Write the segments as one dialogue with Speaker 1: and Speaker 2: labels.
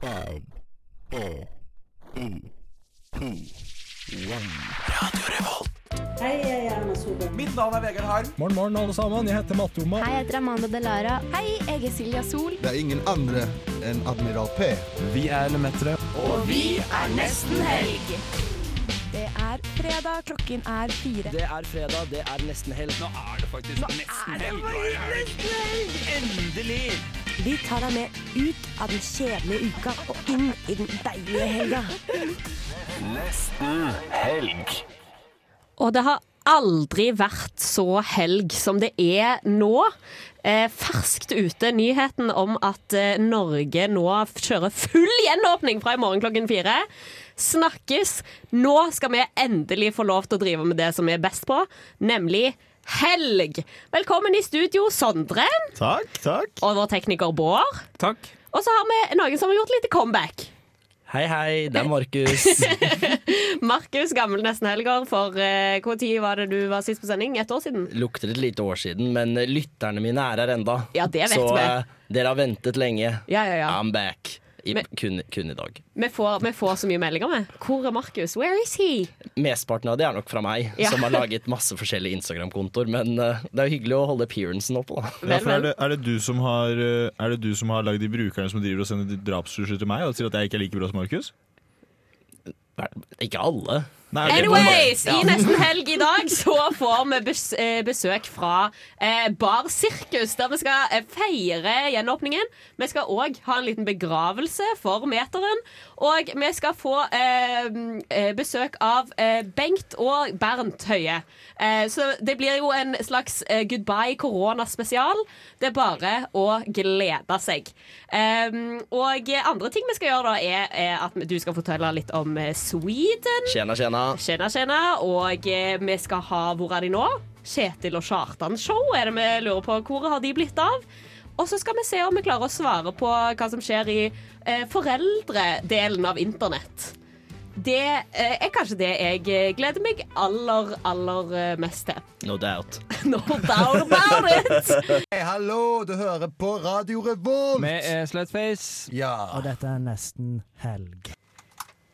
Speaker 1: Five, four, three, two, one.
Speaker 2: Hei, jeg er Erna Solberg.
Speaker 3: Mitt navn er Vegard Harm.
Speaker 4: Morgen, morgen, alle sammen. Jeg heter Matte Oma.
Speaker 5: Hei, jeg heter Amanda Delara. Hei, jeg er Silja Sol.
Speaker 6: Det er ingen andre enn Admiral P.
Speaker 4: Vi er Lemetere.
Speaker 5: Det er fredag, klokken er fire.
Speaker 3: Det er fredag, det er nesten helg. Nå er det faktisk nesten helg. Endelig!
Speaker 7: Vi tar deg med ut av den kjedelige uka og inn i den deilige helga.
Speaker 8: Og det har aldri vært så helg som det er nå. Eh, ferskt ute nyheten om at eh, Norge nå f- kjører full gjenåpning fra i morgen klokken fire. Snakkes. Nå skal vi endelig få lov til å drive med det som vi er best på, nemlig helg. Velkommen i studio, Sondre.
Speaker 1: Takk, takk.
Speaker 8: Og vår tekniker Bård.
Speaker 3: Takk.
Speaker 8: Og så har vi noen som har gjort litt comeback.
Speaker 3: Hei, hei. Det er Markus.
Speaker 8: Markus Gammel Nesten Helger, for eh, hvor tid var det du var sist på sending? Et år siden?
Speaker 3: Lukter et lite år siden, men lytterne mine er her enda.
Speaker 8: Ja, det vet
Speaker 3: Så
Speaker 8: vi.
Speaker 3: eh, dere har ventet lenge.
Speaker 8: Ja, ja, ja.
Speaker 3: I'm back. I,
Speaker 8: Men-
Speaker 3: kun, kun i dag.
Speaker 8: Vi får, vi får så mye meldinger med. Hvor er Markus? Where is he?
Speaker 3: Mesteparten av det er nok fra meg,
Speaker 8: Ja.
Speaker 3: som har laget masse forskjellige Instagram-kontoer. Men eh, det er jo hyggelig å holde appearancen oppe, da.
Speaker 8: Vel,
Speaker 9: for er
Speaker 8: vel.
Speaker 9: det, er det du som har eh, Er det du som har lagd de brukerne som driver og sender de drapstrusler til meg og sier at jeg ikke er like bra som Markus?
Speaker 3: Ikke alle.
Speaker 9: Nei, ok,
Speaker 8: Anyways, i nesten helg i dag så får vi bes eh, besøk fra eh, Bar Sirkus, der vi skal eh, feire gjenåpningen. Vi skal òg ha en liten begravelse for meteren. Og vi skal få eh, mm, eh, besøk av eh, Bengt og Bernt Høie. Eh, så det blir jo en slags eh, goodbye korona-spesial. Det er bare å glede seg. Um, og andre ting vi skal gjøre, da, er, er at du skal fortelle litt om eh, Sweden.
Speaker 3: Tjena, tjena.
Speaker 8: Tjena, tjena. Og eh, vi skal ha Hvor er de nå? Kjetil og Kjartan-show er det vi lurer på. Hvor har de blitt av? Og så skal vi se om vi klarer å svare på hva som skjer i eh, foreldredelen av internett. Det eh, er kanskje det jeg eh, gleder meg aller, aller eh, mest til.
Speaker 3: No doubt.
Speaker 8: No doubt about it!
Speaker 6: Hei, hallo, du hører på Radio Revolt!
Speaker 10: eh,
Speaker 4: Slutface.
Speaker 6: Ja.
Speaker 11: Dette er nesten helg.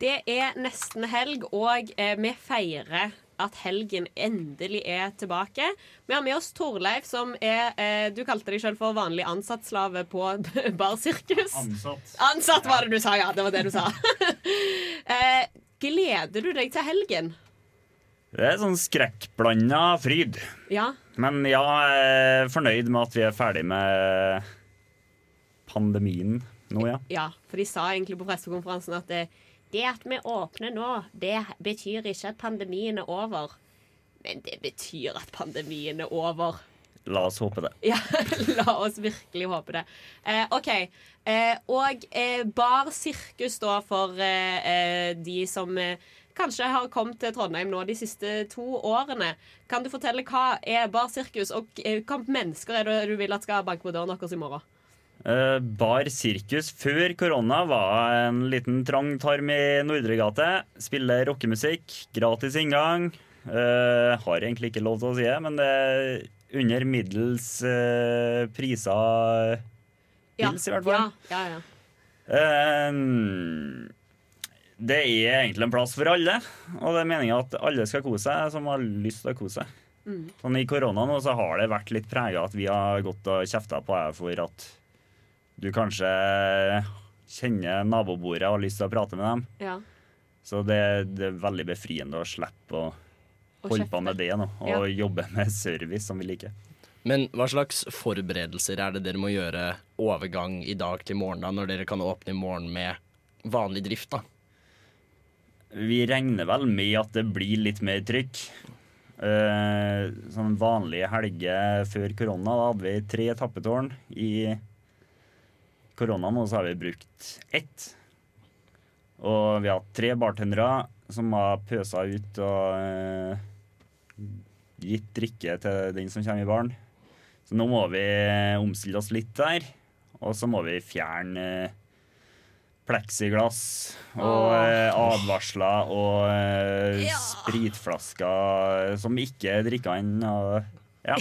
Speaker 8: Det er nesten helg, og eh, vi feirer at helgen endelig er tilbake. Vi har med oss Torleif, som er eh, Du kalte deg sjøl for vanlig ansattslave på Bar Sirkus. Ansatt. Ansatt var det du sa, ja. Det var det du sa. eh, gleder du deg til helgen?
Speaker 12: Det er sånn skrekkblanda fryd.
Speaker 8: Ja.
Speaker 12: Men ja, jeg er fornøyd med at vi er ferdig med pandemien nå, ja.
Speaker 8: ja. For de sa egentlig på pressekonferansen at det, det at vi åpner nå, det betyr ikke at pandemien er over. Men det betyr at pandemien er over.
Speaker 12: La oss håpe det.
Speaker 8: Ja, la oss virkelig håpe det. Eh, OK. Eh, og eh, Bar Sirkus, da, for eh, eh, de som eh, kanskje har kommet til Trondheim nå de siste to årene. Kan du fortelle hva er Bar Sirkus, og eh, hva mennesker er det du vil at skal banke på døren deres i morgen?
Speaker 12: Eh, Bar Sirkus før korona var en liten trang tarm i Nordregate. Spiller rockemusikk, gratis inngang. Eh, har egentlig ikke lov til å si det, men det er under middels eh, priser Pils, i hvert fall.
Speaker 8: Ja, ja, ja.
Speaker 12: Ehm, Det er egentlig en plass for alle, og det er meninga at alle skal kose seg som har lyst til å kose seg. Sånn I korona nå så har det vært litt prega at vi har gått og kjefta på deg for at du kanskje kjenner nabobordet og har lyst til å prate med dem.
Speaker 8: ja.
Speaker 12: Så det, det er veldig befriende å slippe å
Speaker 8: Og
Speaker 12: holde
Speaker 8: kjefte.
Speaker 12: på med det nå, og jobbe med service som vi liker.
Speaker 3: Men hva slags forberedelser er det dere må gjøre overgang i dag til morgen, da, når dere kan åpne i morgen med vanlig drift, da?
Speaker 12: Vi regner vel med at det blir litt mer trykk. Eh, sånn vanlige helger før korona, da hadde vi tre tappetårn. I korona nå så har vi brukt ett. Og vi har hatt tre bartendere som har pøsa ut og eh, gitt drikke til den som kommer i baren. Så nå må vi omstille oss litt der. Og så må vi fjerne eh, pleksiglass og
Speaker 8: Åh.
Speaker 12: eh, advarsler og eh,
Speaker 8: Ja.
Speaker 12: spritflasker som ikke er drikka inn. Og, ja.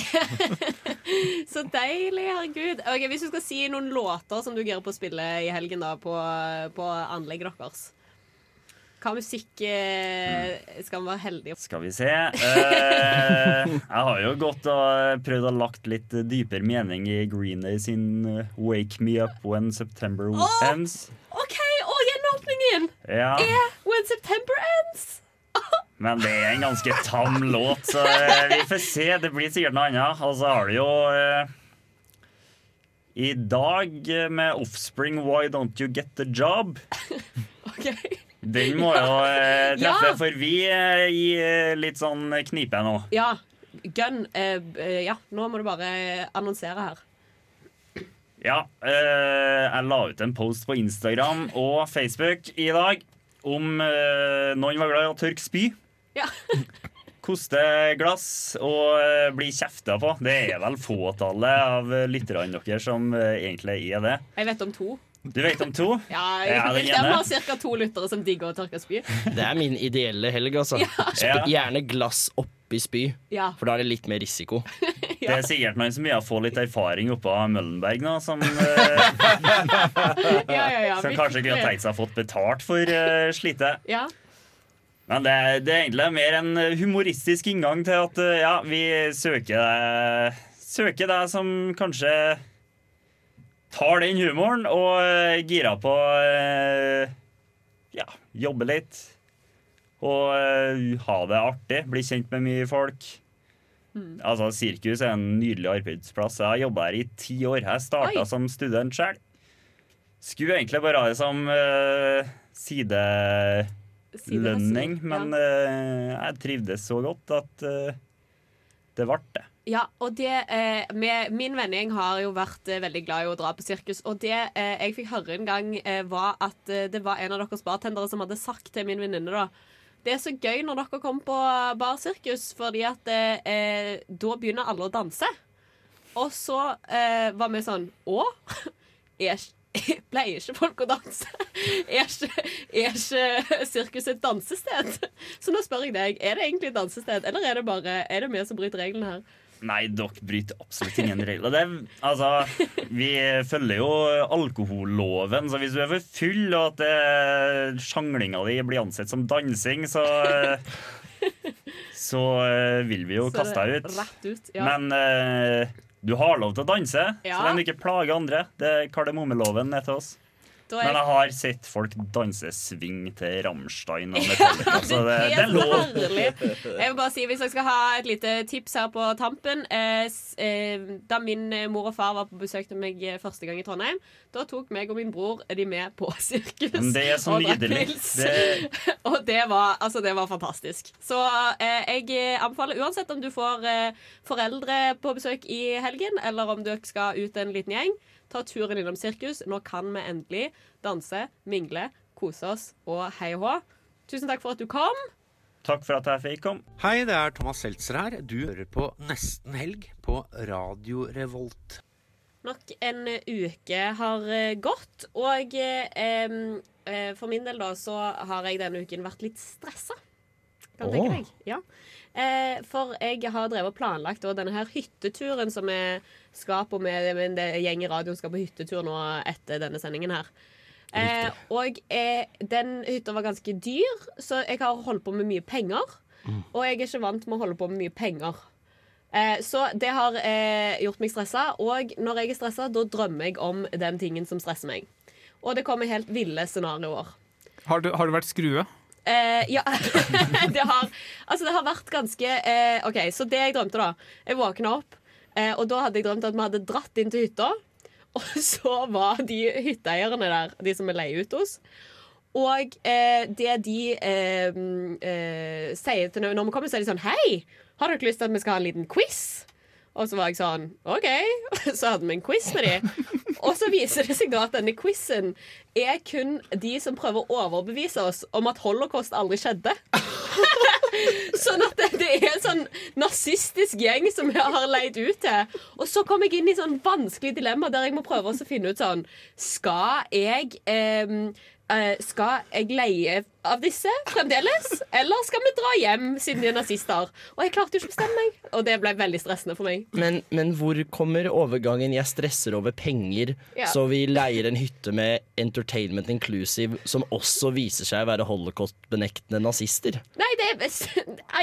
Speaker 8: Så deilig, herregud. Ok, Hvis du skal si noen låter som du girer på å spille i helgen, da, på, på anlegget deres Hva musikk eh,
Speaker 12: Mm.
Speaker 8: skal vi være heldige på?
Speaker 12: Skal vi se. Eh, jeg har jo gått og eh, prøvd å lagt litt dypere mening i Green Day sin eh, 'Wake Me Up When September
Speaker 8: Åh!
Speaker 12: Ends'.
Speaker 8: OK, og gjenåpningen
Speaker 12: Ja.
Speaker 8: er When September Ends.
Speaker 12: Men det er en ganske tam låt, så eh, vi får se. Det blir sikkert noe annet. Og så har du jo eh, I dag eh, med Offspring 'Why Don't You Get The Job'. Den må jo eh, treffe,
Speaker 8: Ja.
Speaker 12: for vi er i eh, litt sånn knipe nå.
Speaker 8: Ja. Gun. eh, eh, ja, nå må du bare annonsere her.
Speaker 12: Ja, eh, jeg la ut en post på Instagram og Facebook i dag om eh, noen var glad i å tørke spy.
Speaker 8: Ja.
Speaker 12: Koste glass og eh, bli kjefta på. Det er vel fåtallet av eh, lytterne deres som eh, egentlig er det.
Speaker 8: Jeg vet om to.
Speaker 12: Du vet om to?
Speaker 8: Ja, jeg,
Speaker 12: Ja, den
Speaker 8: jeg stemmer,
Speaker 12: ene.
Speaker 8: har ca. to lyttere som digger å tørke spy.
Speaker 3: Det er min ideelle helg, altså. Sp
Speaker 12: Ja.
Speaker 3: Gjerne glass oppi spy,
Speaker 8: Ja.
Speaker 3: for da er det litt mer risiko.
Speaker 12: Det er sikkert noen som vil få litt erfaring oppå Møllenberg nå, som, eh,
Speaker 8: Ja, ja, ja,
Speaker 12: som kanskje kunne
Speaker 8: virkelig.
Speaker 12: tenkt seg fått betalt for eh, slitet.
Speaker 8: Ja.
Speaker 12: Men det, er- det er egentlig mer en eh, humoristisk inngang til at uh, ja, vi søker deg Søker deg som kanskje tar den humoren og uh, girer på uh, Ja, jobbe litt. Og uh, ha det artig. Bli kjent med mye folk. Altså, Sirkus er en nydelig arbeidsplass. Jeg har jobba her i ti år. Jeg starta som student sjøl. Skulle egentlig bare ha det som eh, sidelønning,
Speaker 8: Sidehassel,
Speaker 12: men
Speaker 8: ja.
Speaker 12: eh, jeg trivdes så godt at eh, det ble det.
Speaker 8: Ja, og det eh, med, Min vennegjeng har jo vært eh, veldig glad i å dra på sirkus. Og det eh, jeg fikk høre en gang, eh, var at eh, det var en av deres bartendere som hadde sagt til min venninne da Det er så gøy når dere kommer på bar sirkus, fordi at eh, eh, da begynner alle å danse. Og så eh, var vi sånn Å? Er ikke Pleier ikke folk å danse? Er ikke, er ikke sirkus et dansested? Så nå spør jeg deg, er det egentlig et dansested, eller er det bare Er det vi som bryter reglene her?
Speaker 12: Nei, dere bryter absolutt ingen regler. Det, er- altså, vi følger jo alkoholloven, så hvis du er for full og at eh, sjanglinga di blir ansett som dansing, så eh, Så eh, vil vi jo
Speaker 8: Så
Speaker 12: kaste
Speaker 8: det-
Speaker 12: deg ut.
Speaker 8: Rett ut ja.
Speaker 12: Men eh, du har lov til å danse, så
Speaker 8: Ja.
Speaker 12: lenge du ikke plager andre. Det er kardemommeloven ned til oss.
Speaker 8: Da er
Speaker 12: Men jeg
Speaker 8: jeg-
Speaker 12: har sett folk danse sving til Rammstein og Metallica, så det, det er lov.
Speaker 8: så herlig. Jeg vil bare si, Hvis jeg skal ha et lite tips her på tampen eh, s- eh, Da min eh, mor og far var på besøk til meg eh, første gang i Trondheim, da tok meg og min bror de med på sirkus.
Speaker 12: Men det er så
Speaker 8: og drakk
Speaker 12: nydelig.
Speaker 8: pils.
Speaker 12: Det-
Speaker 8: og det var, altså, det var fantastisk. Så eh, jeg anbefaler uansett om du får eh, foreldre på besøk i helgen, eller om dere skal ut en liten gjeng, ta turen innom sirkus. Nå kan vi endelig danse, mingle, kose oss og hei og hå. Tusen takk for at du kom.
Speaker 12: Takk for at jeg fikk komme.
Speaker 13: Hei, det er Thomas Seltzer her. Du hører på Nesten Helg på Radio Revolt.
Speaker 8: Nok en uke har eh, gått, og eh, em, eh, for min del da så har jeg denne uken vært litt stressa. Kan du
Speaker 14: Åh.
Speaker 8: tenke deg. Ja. Eh, for jeg har drevet og planlagt da, denne her hytteturen som vi skal på med, med en gjeng i radioen skal på hyttetur nå etter denne sendingen her. Eh, og eh, den hytta var ganske dyr, så jeg har holdt på med mye penger. Og jeg er ikke vant med å holde på med mye penger. Eh, så det har eh, gjort meg stressa, og når jeg er stressa, da drømmer jeg om den tingen som stresser meg. Og det kommer helt ville scenarioer.
Speaker 10: Har du, har du vært skrue?
Speaker 8: Eh, ja, det har Altså, det har vært ganske eh, OK, så det jeg drømte, da. Jeg våkna opp, eh, og da hadde jeg drømt at vi hadde dratt inn til hytta. Og så var de hytteeierne der, de som vi leier ut hos. Og eh, det de eh, eh, sier til når vi kommer, så er de sånn Hei, har dere lyst til at vi skal ha en liten quiz? Og så var jeg sånn OK. Så hadde vi en quiz med de. Og så viser det seg da at denne quizen er kun de som prøver å overbevise oss om at holocaust aldri skjedde. Sånn at det, det er en sånn nazistisk gjeng som jeg har leid ut til. Og så kom jeg inn i sånn vanskelig dilemma der jeg må prøve også å finne ut sånn Skal jeg ehm, eh, skal jeg leie av disse fremdeles, eller skal vi dra hjem siden de er nazister? Og jeg klarte jo ikke å bestemme meg, og det ble veldig stressende for meg.
Speaker 3: Men, men hvor kommer overgangen 'jeg stresser over penger',
Speaker 8: Ja.
Speaker 3: så vi leier en hytte med entertainment inclusive, som også viser seg å være holocaust-benektende nazister?
Speaker 8: Nei, det er I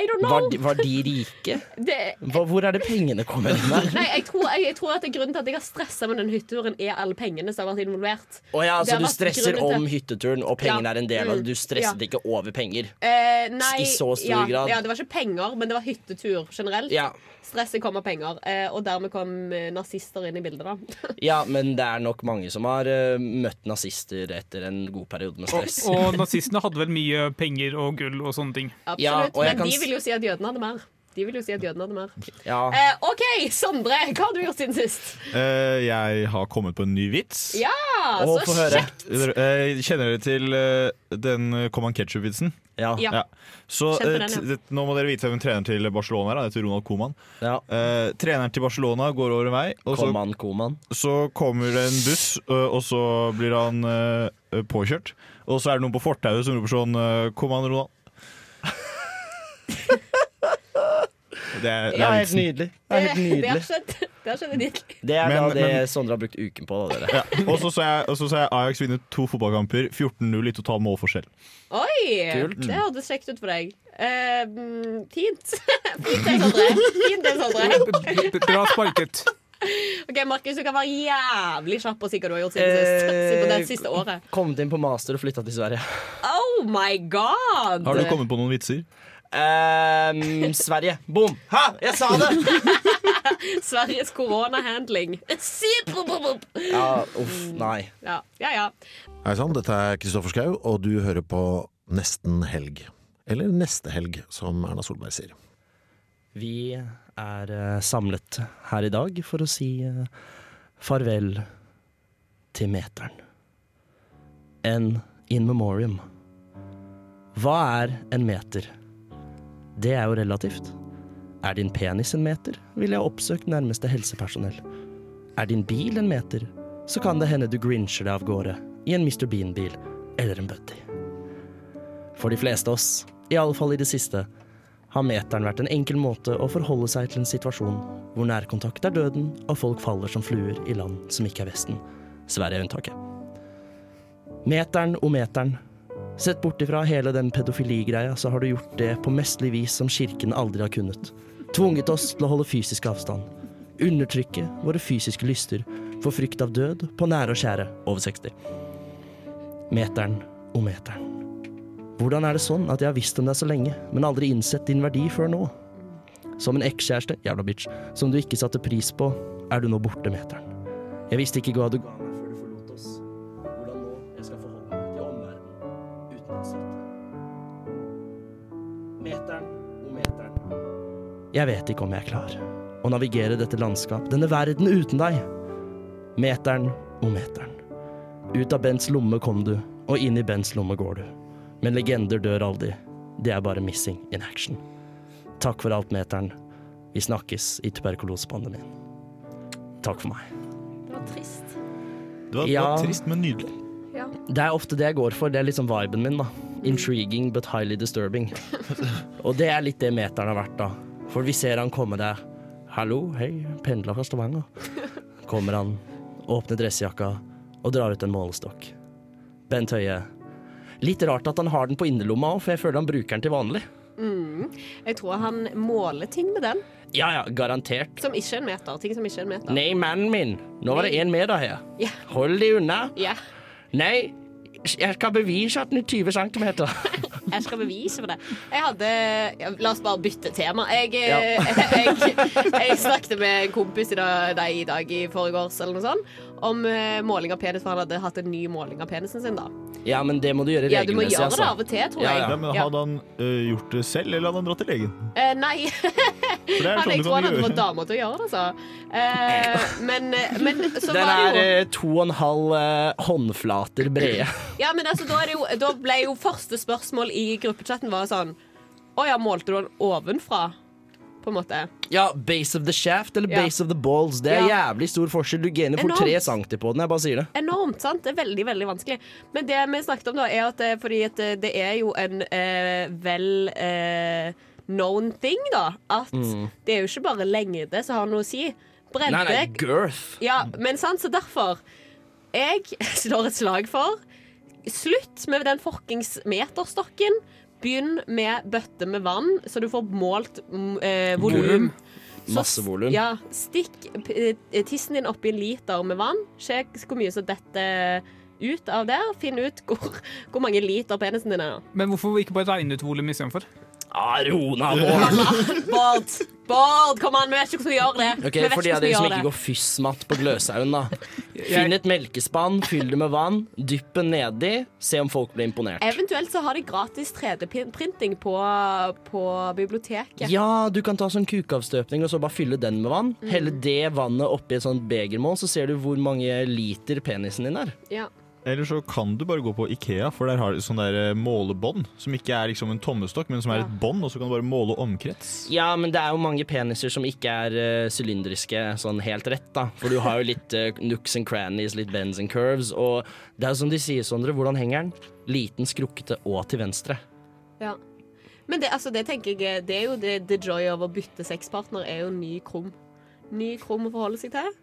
Speaker 8: don't know.
Speaker 3: Var de, var de rike?
Speaker 8: Det,
Speaker 3: Hva, hvor er det pengene kommer fra?
Speaker 8: Nei, jeg tror, jeg, jeg tror at det er grunnen til at jeg har stressa med den hytteturen, er alle pengene som har vært involvert.
Speaker 3: Å ja,
Speaker 8: Det
Speaker 3: så
Speaker 8: har
Speaker 3: du
Speaker 8: vært
Speaker 3: stresser
Speaker 8: grunnen til-
Speaker 3: om hytteturen, og pengene
Speaker 8: Ja.
Speaker 3: er en del av det.
Speaker 8: Mm.
Speaker 3: Du stresset
Speaker 8: Ja.
Speaker 3: ikke over penger.
Speaker 8: Eh, nei,
Speaker 3: I så stor
Speaker 8: ja,
Speaker 3: grad.
Speaker 8: Ja, det var ikke penger, men det var hyttetur generelt.
Speaker 3: Ja.
Speaker 8: Stresset kom av penger, eh, og dermed kom eh, nazister inn i bildet, da.
Speaker 3: Ja, men det er nok mange som har eh, møtt nazister etter en god periode med
Speaker 10: Og,
Speaker 3: stress.
Speaker 10: og nazistene hadde vel mye penger og gull og sånne ting.
Speaker 8: Absolutt.
Speaker 3: Ja, og jeg
Speaker 8: men
Speaker 3: kan
Speaker 8: de
Speaker 3: s-
Speaker 8: vil jo si at jødene hadde mer. De vil jo si at jødene hadde mer.
Speaker 3: Ja.
Speaker 8: Eh, OK, Sondre, hva har du gjort siden sist?
Speaker 9: Eh, jeg har kommet på en ny vits.
Speaker 8: Ja,
Speaker 9: Å,
Speaker 8: Ah, så
Speaker 9: få høre.
Speaker 8: kjekt!
Speaker 9: Eh, kjenner dere til eh, den eh, Coman Ketchup-vitsen?
Speaker 3: Ja.
Speaker 8: Ja.
Speaker 9: Så
Speaker 8: Kjent for
Speaker 9: eh,
Speaker 8: den,
Speaker 9: t-
Speaker 8: ja.
Speaker 9: det- Nå må dere vite hvem treneren til Barcelona er. Han heter Ronald Coman. Eh, treneren til Barcelona går over en vei. Og så,
Speaker 3: Coman, Coman.
Speaker 9: så kommer det en buss, eh, og så blir han eh, påkjørt. Og så er det noen på fortauet som roper sånn eh, Coman, Ronald. det er,
Speaker 3: Det er helt nydelig. Det er helt
Speaker 8: Eh, Det- Det har
Speaker 3: nydelig.
Speaker 8: skjedd. Det har skjedd en del.
Speaker 3: Det er
Speaker 9: Men-
Speaker 3: da det
Speaker 9: men-
Speaker 3: Sondre har brukt uken på, da, dere.
Speaker 9: Ja. Og så sa jeg, og så sa jeg Ajax vinner to fotballkamper, 14-0 i total målforskjell.
Speaker 8: Oi!
Speaker 9: Kult. Mm.
Speaker 8: Det hørtes kjekt ut for deg. Eh, mm, fint. Fint det, Sondre. Fint det,
Speaker 10: Eh,
Speaker 8: Sondre.
Speaker 10: Bra sparket.
Speaker 8: OK, Markus, du kan være jævlig kjapp og si hva du har gjort siden
Speaker 9: Eh,
Speaker 8: sist. Siden på det siste året.
Speaker 3: Kommet inn på master og flytta Eh, til Sverige.
Speaker 8: Oh my god!
Speaker 9: Har du kommet på noen vitser?
Speaker 3: Ehm, Sverige. Bom! Ha! Jeg sa det!
Speaker 8: Sveriges koronahandling. Superbobop.
Speaker 3: Ja, uff, nei.
Speaker 8: Ja, ja. ja.
Speaker 14: Hei sann, dette er Kristoffer Schau, og du hører på Nesten helg. Eller Neste helg, som Erna Solberg sier.
Speaker 3: Vi er eh, samlet her i dag for å si eh, farvel til meteren. En in memoriam. Hva er en meter? Det er jo relativt. Er din penis en meter, ville jeg oppsøkt nærmeste helsepersonell. Er din bil en meter, så kan det hende du grincher deg av gårde i en Mr. Bean-bil eller en buddy. For de fleste av oss, i alle fall i det siste, har meteren vært en enkel måte å forholde seg til en situasjon hvor nærkontakt er døden, og folk faller som fluer i land som ikke er Vesten. Sverige er unntaket. Meteren og meteren. Sett bort ifra hele den pedofiligreia, så har du gjort det på mesterlig vis som kirken aldri har kunnet. Tvunget oss til å holde fysisk avstand. Undertrykke våre fysiske lyster for frykt av død på nære og kjære over 60. Meteren og meteren. Hvordan er det sånn at jeg har visst om deg så lenge, men aldri innsett din verdi før nå? Som en ekskjæreste, jævla bitch, som du ikke satte pris på, er du nå borte meteren. Jeg visste ikke hva du ga meg før du forlot oss. Hvordan nå jeg skal forholde meg til omverdenen uten å svikte. Meteren og meteren. Jeg vet ikke om jeg klarer å navigere dette landskap, denne verden uten deg. Meteren og meteren. Ut av Bens lomme kom du, og inn i Bens lomme går du. Men legender dør aldri. Det er bare missing in action. Takk for alt, meteren. Vi snakkes i tuberkulosepandemien. Takk for meg.
Speaker 8: Det var trist.
Speaker 9: Det var, det
Speaker 3: Ja.
Speaker 9: var trist, men nydelig.
Speaker 8: Ja.
Speaker 3: Det er ofte det jeg går for. Det er liksom viben min, da. Intriguing but highly disturbing. Og det er litt det meteren har vært, da. For vi ser han komme der. Hallo, hei, pendla fra Stavanger. Kommer han, åpner dressjakka og drar ut en målestokk. Bent Høie. Litt rart at han har den på innerlomma òg, for jeg føler han bruker den til vanlig.
Speaker 8: Mm. Jeg tror han måler ting med den
Speaker 3: Ja ja, garantert.
Speaker 8: som ikke er en meter. Ting som ikke er en meter.
Speaker 3: Nei, mannen min, nå var det én meter her.
Speaker 8: Ja.
Speaker 3: Hold deg unna.
Speaker 8: Ja.
Speaker 3: Nei, jeg skal bevise at den er 20 cm.
Speaker 8: Jeg skal bevise for det. Jeg hadde ja, La oss bare bytte tema. Jeg, eh,
Speaker 3: Ja.
Speaker 8: jeg, jeg, snakket med en kompis i dag, nei, i dag i forgårs eller noe sånt om eh, måling av penis, for han hadde hatt en ny måling av penisen sin da.
Speaker 3: Ja, men det må du gjøre
Speaker 8: Ja, du må
Speaker 3: regelmessig. altså.
Speaker 8: gjøre det av og til, tror
Speaker 3: Ja,
Speaker 8: jeg.
Speaker 3: ja.
Speaker 9: Ja, men
Speaker 8: Ja.
Speaker 9: Hadde han eh, gjort det selv, eller hadde han dratt til legen?
Speaker 8: Eh, nei.
Speaker 9: det er
Speaker 8: han,
Speaker 9: sånn
Speaker 8: jeg tror
Speaker 9: du kan
Speaker 8: han hadde
Speaker 9: gjøre.
Speaker 8: fått dama til å gjøre det, altså. Eh, men, men så
Speaker 3: Den
Speaker 8: var
Speaker 3: er
Speaker 8: det jo
Speaker 3: eh, to og en halv eh, håndflater brede.
Speaker 8: Ja, men altså, da, er det jo, da ble jo første spørsmål i gruppechatten var sånn Å ja, målte du den ovenfra? På en måte.
Speaker 3: Ja, base of the shaft eller
Speaker 8: Ja.
Speaker 3: base of the balls. Det er
Speaker 8: Ja.
Speaker 3: jævlig stor forskjell. Du gainer for
Speaker 8: Enormt.
Speaker 3: tre center på den. Jeg bare sier det.
Speaker 8: Enormt, sant? Det er veldig, veldig vanskelig. Men det vi snakket om, da, er at eh, fordi at eh, det er jo en eh, vel eh, known thing, da, at
Speaker 3: Mm.
Speaker 8: det er jo ikke bare lengde som har noe å si.
Speaker 3: Nei,
Speaker 8: Bredde
Speaker 3: nei, girth.
Speaker 8: Ja, men sant, så derfor Jeg slår et slag for Slutt med den fuckings meterstokken. Begynn med bøtte med vann, så du får målt mm, eh, volum.
Speaker 3: Volum. Masse volum.
Speaker 8: Ja, stikk p- eh, tissen din oppi en liter med vann. Sjekk hvor mye som detter ut av der. Finn ut hvor, hvor mange liter penisen din er.
Speaker 10: Men hvorfor ikke bare regne ut volum istedenfor?
Speaker 3: Ah, ro nå,
Speaker 8: Bård! Bård, kom an, vi vet ikke hvordan vi gjør det.
Speaker 3: Ok,
Speaker 8: vi vet
Speaker 3: For
Speaker 8: hvordan vi
Speaker 3: de av dere som
Speaker 8: gjør
Speaker 3: ikke
Speaker 8: det.
Speaker 3: går fyssmatt på Gløshaugen, da. Finn et melkespann, fyll det med vann, dypp det nedi, se om folk blir imponert.
Speaker 8: Eventuelt så har de gratis 3D-printing på, på biblioteket.
Speaker 3: Ja, du kan ta sånn kukavstøpning og så bare fylle den med vann.
Speaker 8: Mm.
Speaker 3: Helle det vannet oppi et sånt begermål, så ser du hvor mange liter penisen din er.
Speaker 8: Ja.
Speaker 9: Eller så kan du bare gå på Ikea, for der har de sånn der eh, målebånd. Som ikke er liksom en tommestokk, men som er et bånd, og så kan du bare måle omkrets.
Speaker 3: Ja, men det er jo mange peniser som ikke er eh, sylindriske sånn helt rett, da. For du har jo litt eh, nooks and crannies, litt bends and curves, og det er jo som de sier, Sondre, hvordan henger den? Liten, skrukkete og til venstre.
Speaker 8: Ja. Men det, altså, det tenker jeg Det er jo det, the joy av å bytte sexpartner, er jo ny krum. Ny krum å forholde seg til.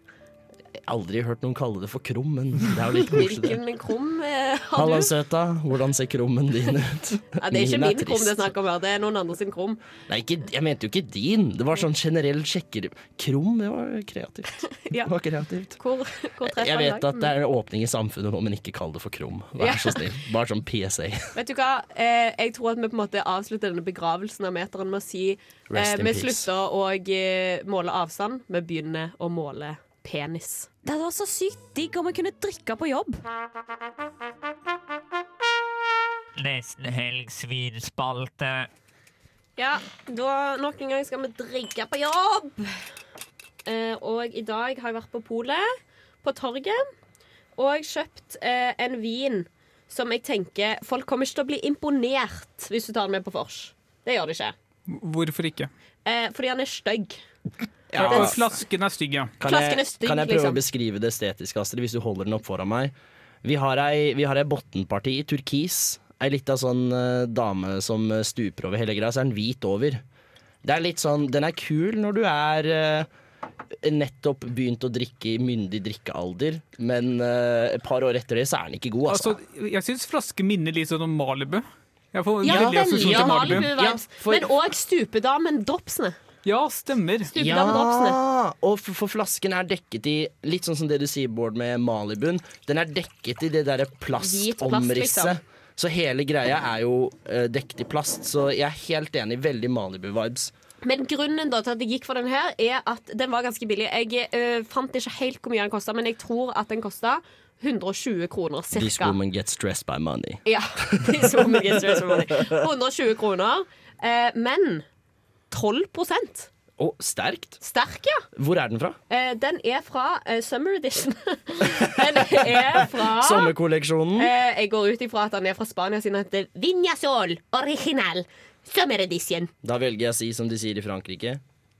Speaker 3: Aldri hørt noen kalle det for krum, men det er jo litt koselig. det.
Speaker 8: Hvilken krum eh, har
Speaker 3: Halla,
Speaker 8: du?
Speaker 3: søta. Hvordan ser krummen din ut?
Speaker 8: Ja, det er ikke
Speaker 3: Min er
Speaker 8: min krum det
Speaker 3: trist.
Speaker 8: er snakk om her, det er noen andre sin krum.
Speaker 3: Nei, ikke, jeg mente jo ikke din. Det var sånn generell sjekker... Krum, det var kreativt.
Speaker 8: Ja.
Speaker 3: Det var kreativt.
Speaker 8: Hvor, hvor treffer
Speaker 3: Jeg
Speaker 8: han i
Speaker 3: vet
Speaker 8: dag?
Speaker 3: at det er en åpning i samfunnet nå, men ikke kall det for krum.
Speaker 8: Ja.
Speaker 3: Vær så snill. Bare sånn PSA.
Speaker 8: Vet du hva, eh, jeg tror at vi på en måte avslutter denne begravelsen av meteren med å si eh,
Speaker 3: Rest in
Speaker 8: Vi
Speaker 3: peace.
Speaker 8: slutter å eh, måle avstand, vi begynner å måle penis.
Speaker 7: Det hadde vært så sykt digg om jeg kunne drikke på jobb.
Speaker 15: Nesten helg svinspalte.
Speaker 8: Ja, da nok en gang skal vi drikke på jobb. Eh, og i dag har jeg vært på polet, på torget, og kjøpt eh, en vin som jeg tenker Folk kommer ikke til å bli imponert hvis du tar den med på vors. Det gjør de ikke.
Speaker 10: Hvorfor ikke?
Speaker 8: Eh, fordi han er stygg.
Speaker 10: Ja,
Speaker 8: Den-
Speaker 10: og flasken er stygg, ja.
Speaker 3: Kan
Speaker 8: Flasken
Speaker 3: jeg,
Speaker 8: er stygg,
Speaker 3: kan jeg prøve
Speaker 8: liksom.
Speaker 3: å beskrive det estetisk, Astrid, hvis du holder den opp foran meg? Vi har ei, vi har ei bottenparti i turkis. Ei lita sånn eh, dame som eh, stuper over hele greia, så er den hvit over. Det er litt sånn, Den er kul når du er eh, nettopp begynt å drikke i myndig drikkealder, men eh, et par år etter det så er den ikke god, altså.
Speaker 10: Altså, jeg syns flaske minner litt sånn om Malibu. Jeg får
Speaker 8: Ja,
Speaker 10: veldig assosiasjon
Speaker 8: veldig
Speaker 10: til Malibu.
Speaker 8: Malibu-vibes. Men òg stupedamen Dropsene.
Speaker 10: Ja, stemmer.
Speaker 8: Stupedamen Dropsene.
Speaker 3: og for, for flasken er dekket i litt sånn som det du sier, Bård, med Malibuen. Den er dekket i det derre
Speaker 8: Hvit plast,
Speaker 3: plastomrisset.
Speaker 8: liksom.
Speaker 3: Så hele greia er jo eh, dekket i plast, så jeg er helt enig. Veldig Malibu-vibes.
Speaker 8: Men grunnen da til at jeg gikk for den her, er at den var ganske billig. Jeg eh, fant ikke helt hvor mye den kosta, men jeg tror at den kosta 120 kroner
Speaker 3: This
Speaker 8: cirka.
Speaker 3: woman gets stressed by money.
Speaker 8: Ja, this woman gets stressed by money. 120 kroner. Eh, men 12
Speaker 3: Å, sterkt!
Speaker 8: Sterk, ja.
Speaker 3: Hvor er den fra?
Speaker 8: Eh, den er fra eh, Summer Edition. den er fra
Speaker 3: Sommerkolleksjonen.
Speaker 8: Ah. Eh, jeg går ut ifra at han er fra Spania, siden han heter Vinjasol Original Summer Edition.
Speaker 3: Da velger jeg å si som de sier i Frankrike.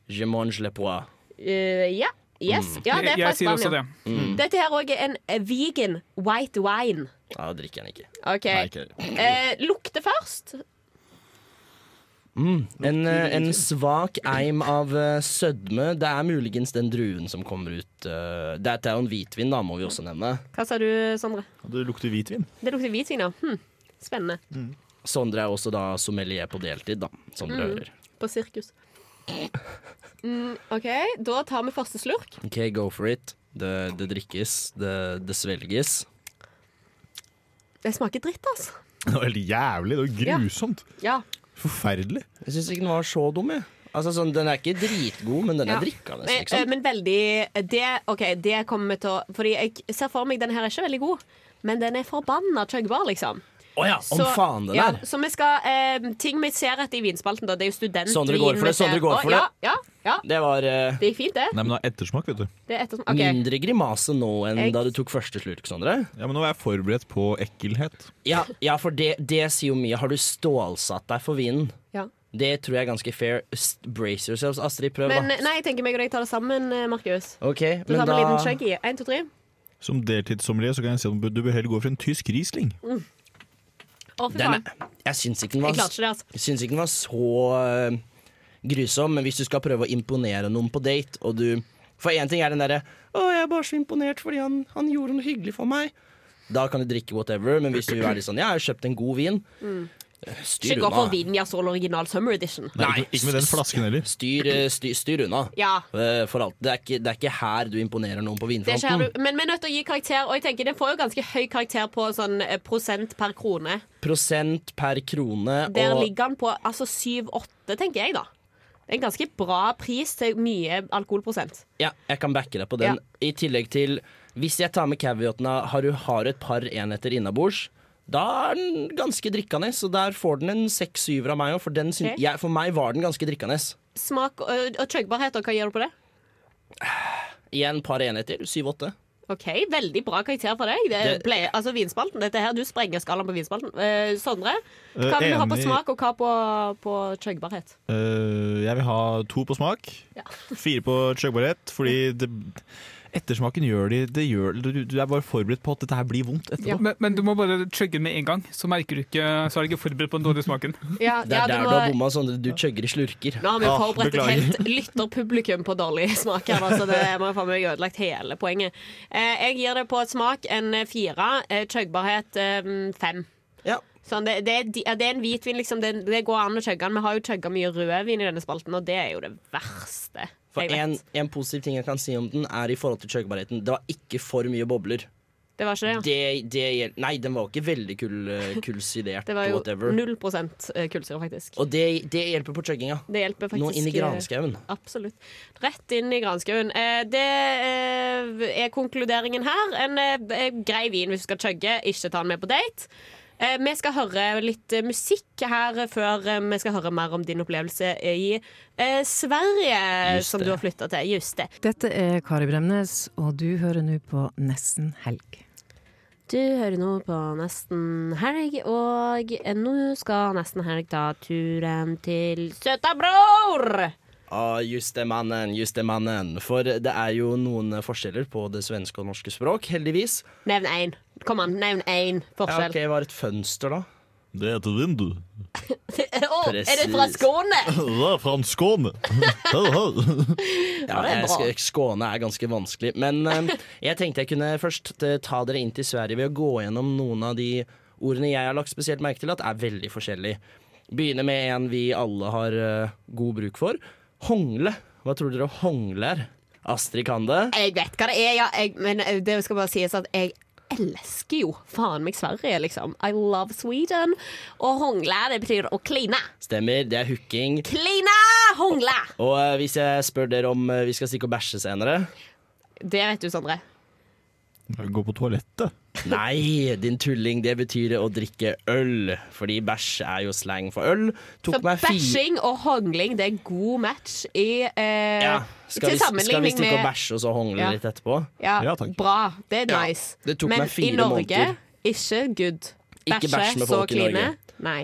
Speaker 3: Je mange le pois.
Speaker 8: Eh, ja. Yes.
Speaker 3: Mm.
Speaker 8: Ja, det er
Speaker 3: Jeg-
Speaker 8: fra
Speaker 3: jeg sier
Speaker 8: Spania.
Speaker 3: også det. Mm.
Speaker 8: Dette her òg er en eh, vegan white wine.
Speaker 3: Ja, da drikker jeg den ikke.
Speaker 8: OK.
Speaker 3: Nei, ikke.
Speaker 8: Eh, lukte først.
Speaker 3: Mm. En, eh, en svak eim av eh, sødme. Det er muligens den druen som kommer ut eh, Dette er jo en hvitvin, da, må vi også nevne.
Speaker 8: Hva sa du, Sondre?
Speaker 3: Det lukter hvitvin.
Speaker 8: Det lukter hvitvin, ja. Hm. Spennende.
Speaker 3: Sondre er også da sommelier på deltid, da, som dere
Speaker 8: Mm.
Speaker 3: hører.
Speaker 8: På sirkus. Mm, OK, da tar vi første slurk.
Speaker 3: OK, go for it. Det, det drikkes, det, det svelges.
Speaker 8: Det smaker dritt, altså.
Speaker 9: Det var helt jævlig. Det var grusomt.
Speaker 8: Ja.
Speaker 9: Forferdelig.
Speaker 3: Jeg syns ikke den var så dum, jeg. Altså, sånn, den er ikke dritgod, men den
Speaker 8: Ja.
Speaker 3: er drikkende.
Speaker 8: Men,
Speaker 3: Liksom.
Speaker 8: eh, men veldig det, OK, det kommer vi til å Fordi jeg ser for meg den her er ikke veldig god, men den er forbanna chuggbar, liksom.
Speaker 3: Å ja, om
Speaker 8: Så-
Speaker 3: faen den
Speaker 8: ja,
Speaker 3: er!
Speaker 8: Så vi skal eh, Ting vi ser etter i vinspalten, da. Det er jo studentvin.
Speaker 3: Sondre går for det,
Speaker 8: vi ser-
Speaker 3: Sondre går
Speaker 8: Å,
Speaker 3: for
Speaker 8: ja,
Speaker 3: det.
Speaker 8: Ja, ja.
Speaker 3: Det var eh,
Speaker 8: Det gikk fint, det.
Speaker 3: men det har ettersmak, vet du.
Speaker 8: Det er etter, ok.
Speaker 3: Mindre grimase nå enn
Speaker 8: Jeg-
Speaker 3: da du tok første slurk, Sondre.
Speaker 9: Ja, men nå er jeg forberedt på ekkelhet.
Speaker 3: Ja, ja for det, det sier jo mye. Har du stålsatt deg for vinen?
Speaker 8: Ja.
Speaker 3: Det tror jeg er ganske fair. St- Brace yourselves. Astrid, prøv,
Speaker 8: Men
Speaker 3: da.
Speaker 8: eh, nei, jeg tenker meg og deg tar det sammen, eh, Markus.
Speaker 3: Ok,
Speaker 8: Du tar med en liten chuggy. Én, to, tre.
Speaker 9: Som deltidssommelier så kan jeg si at du bør heller gå for en tysk riesling.
Speaker 8: Mm. Å, fy
Speaker 3: Den,
Speaker 8: faen.
Speaker 3: er- jeg syns ikke den var
Speaker 8: Jeg klarte ikke det, altså.
Speaker 3: Jeg syns ikke den var så eh, grusom, men hvis du skal prøve å imponere noen på date, og du For én ting er den derre Å, jeg er bare så imponert fordi han, han gjorde noe hyggelig for meg. Da kan du drikke whatever, men hvis du er litt sånn Jeg har kjøpt en god vin. Eh,
Speaker 8: Mm.
Speaker 3: Styr
Speaker 8: Ikke gå for
Speaker 3: unna.
Speaker 8: Vinja Sol original summer edition.
Speaker 9: heller.
Speaker 3: Styr, eh, styr, styr unna.
Speaker 8: Ja.
Speaker 3: Eh, For alt. Det, er ikke, det er ikke her du imponerer noen på
Speaker 8: Det er ikke her
Speaker 3: vinfronten.
Speaker 8: du, men vi er nødt til å gi karakter, og jeg tenker den får jo ganske høy karakter på sånn eh, prosent per krone.
Speaker 3: Prosent per krone
Speaker 8: Der
Speaker 3: og
Speaker 8: ligger den på altså 7-8, tenker jeg, da. Det er en ganske bra pris til mye alkoholprosent.
Speaker 3: Ja, jeg kan backe deg på den. I tillegg til Hvis jeg tar med caveaten av har du har et par enheter innabords, da er den ganske drikkende, så der får den en seks-syver av meg òg, for, den syn-
Speaker 8: Ok.
Speaker 3: jeg- for meg var den ganske drikkende.
Speaker 8: Smak ø, og chuggbarhet, og hva gjør du på det?
Speaker 3: Igjen par enheter, syv-åtte.
Speaker 8: OK, veldig bra karakter for deg. Det
Speaker 3: Det-
Speaker 8: ble, altså vinspalten, dette her, Du sprenger skalaen på vinspalten. Eh, Sondre,
Speaker 9: Eh,
Speaker 8: hva vil du ha på
Speaker 9: enig.
Speaker 8: smak, og hva på, på chuggbarhet?
Speaker 9: Eh, jeg vil ha to på smak, fire på chuggbarhet, fordi det, ettersmaken gjør de det gjør, du, du er bare forberedt på at dette her blir vondt etterpå.
Speaker 10: Men, men du må bare chugge med en gang, så merker du ikke Så er du ikke forberedt på den dårlige smaken.
Speaker 8: Ja,
Speaker 3: Det er der du har Ah, bomma, Sondre. Du chugger i slurker.
Speaker 8: Nå har vi forberedt et helt lytterpublikum på dårlig smak her, da, så det må faen meg ødelagt hele poenget. Eh, jeg gir det på smak en fire, eh, chuggbarhet eh, fem. Sånn, det, det, er di- ja, det er en hvitvin, liksom. Det, det går an å chugge den. Vi har jo chugga mye rødvin i denne spalten, og det er jo det verste.
Speaker 3: For
Speaker 8: jeg vet.
Speaker 3: en, en positiv ting jeg kan si om den, er i forhold til chuggbarheten. Det var ikke for mye bobler.
Speaker 8: Det var ikke det, ja.
Speaker 3: Det, det, gjel- nei, den var ikke veldig kul, kulsidert.
Speaker 8: Det var jo
Speaker 3: whatever.
Speaker 8: 0 kullsyre, faktisk.
Speaker 3: Og det, det hjelper på chugginga.
Speaker 8: Det hjelper faktisk.
Speaker 3: Nå inn i granskauen.
Speaker 8: eh, Absolutt. Rett inn i granskauen. Eh, Det eh, er konkluderingen her. En eh, b- eh, grei vin hvis du skal chugge, ikke ta den med på date. Eh, Vi skal høre litt eh, musikk her eh, før eh, vi skal høre mer om din opplevelse i eh, Sverige,
Speaker 16: Just
Speaker 8: som
Speaker 16: det.
Speaker 8: du har flytta til. Just det.
Speaker 16: Dette er Kari Bremnes, og du hører nå på Nesten helg.
Speaker 8: Du hører nå på Nesten helg, og eh, nå skal Nesten helg ta turen til Søtabror!
Speaker 3: Ja, just det, mannen. Just det, mannen. Ah, For det er jo noen forskjeller på det svenske og norske språk, heldigvis.
Speaker 8: Nevn én. Kom an, nevn én
Speaker 3: Ja,
Speaker 8: forskjell.
Speaker 3: ok, Hva er et fønster, da? Det er et vindu.
Speaker 8: Å, er det
Speaker 3: Presis.
Speaker 8: fra Skåne?
Speaker 3: Det er fra Skåne. ja,
Speaker 8: det er
Speaker 3: jeg,
Speaker 8: bra.
Speaker 3: sk- Skåne er ganske vanskelig. Men eh, jeg tenkte jeg kunne først eh, ta dere inn til Sverige ved å gå gjennom noen av de ordene jeg har lagt spesielt merke til at er veldig forskjellige. Begynner med en vi alle har eh, god bruk for. Hongle. Hva tror dere hongle er? Astrid kan det.
Speaker 8: Jeg vet hva det er, ja, jeg, men eh, det skal bare sies at jeg elsker jo faen meg Sverige, liksom. I love Sweden. Og hongle, det betyr å kline.
Speaker 3: Stemmer, det er hooking.
Speaker 8: Kline! Hongle!
Speaker 3: Og eh, hvis jeg spør dere om eh, vi skal stikke og bæsje senere
Speaker 8: Det vet du, Sondre.
Speaker 3: Gå på toalettet? Nei, din tulling, det betyr å drikke øl. Fordi bæsj er jo slang for øl. Tok
Speaker 8: Så
Speaker 3: meg fi-
Speaker 8: bæsjing og hongling, det er god match i eh,
Speaker 3: Ja, skal,
Speaker 8: Til
Speaker 3: vi, skal vi
Speaker 8: sammenligning
Speaker 3: stikke og
Speaker 8: med-
Speaker 3: bæsje og så hongle
Speaker 8: Ja.
Speaker 3: litt etterpå?
Speaker 8: Ja, bra. Det er
Speaker 3: Ja,
Speaker 8: nice.
Speaker 3: det tok
Speaker 8: men
Speaker 3: meg fire
Speaker 8: i Norge,
Speaker 3: måneder.
Speaker 8: ikke good.
Speaker 3: Ikke bæsj med
Speaker 8: så
Speaker 3: folk i
Speaker 8: kline.
Speaker 3: Norge.
Speaker 8: Nei.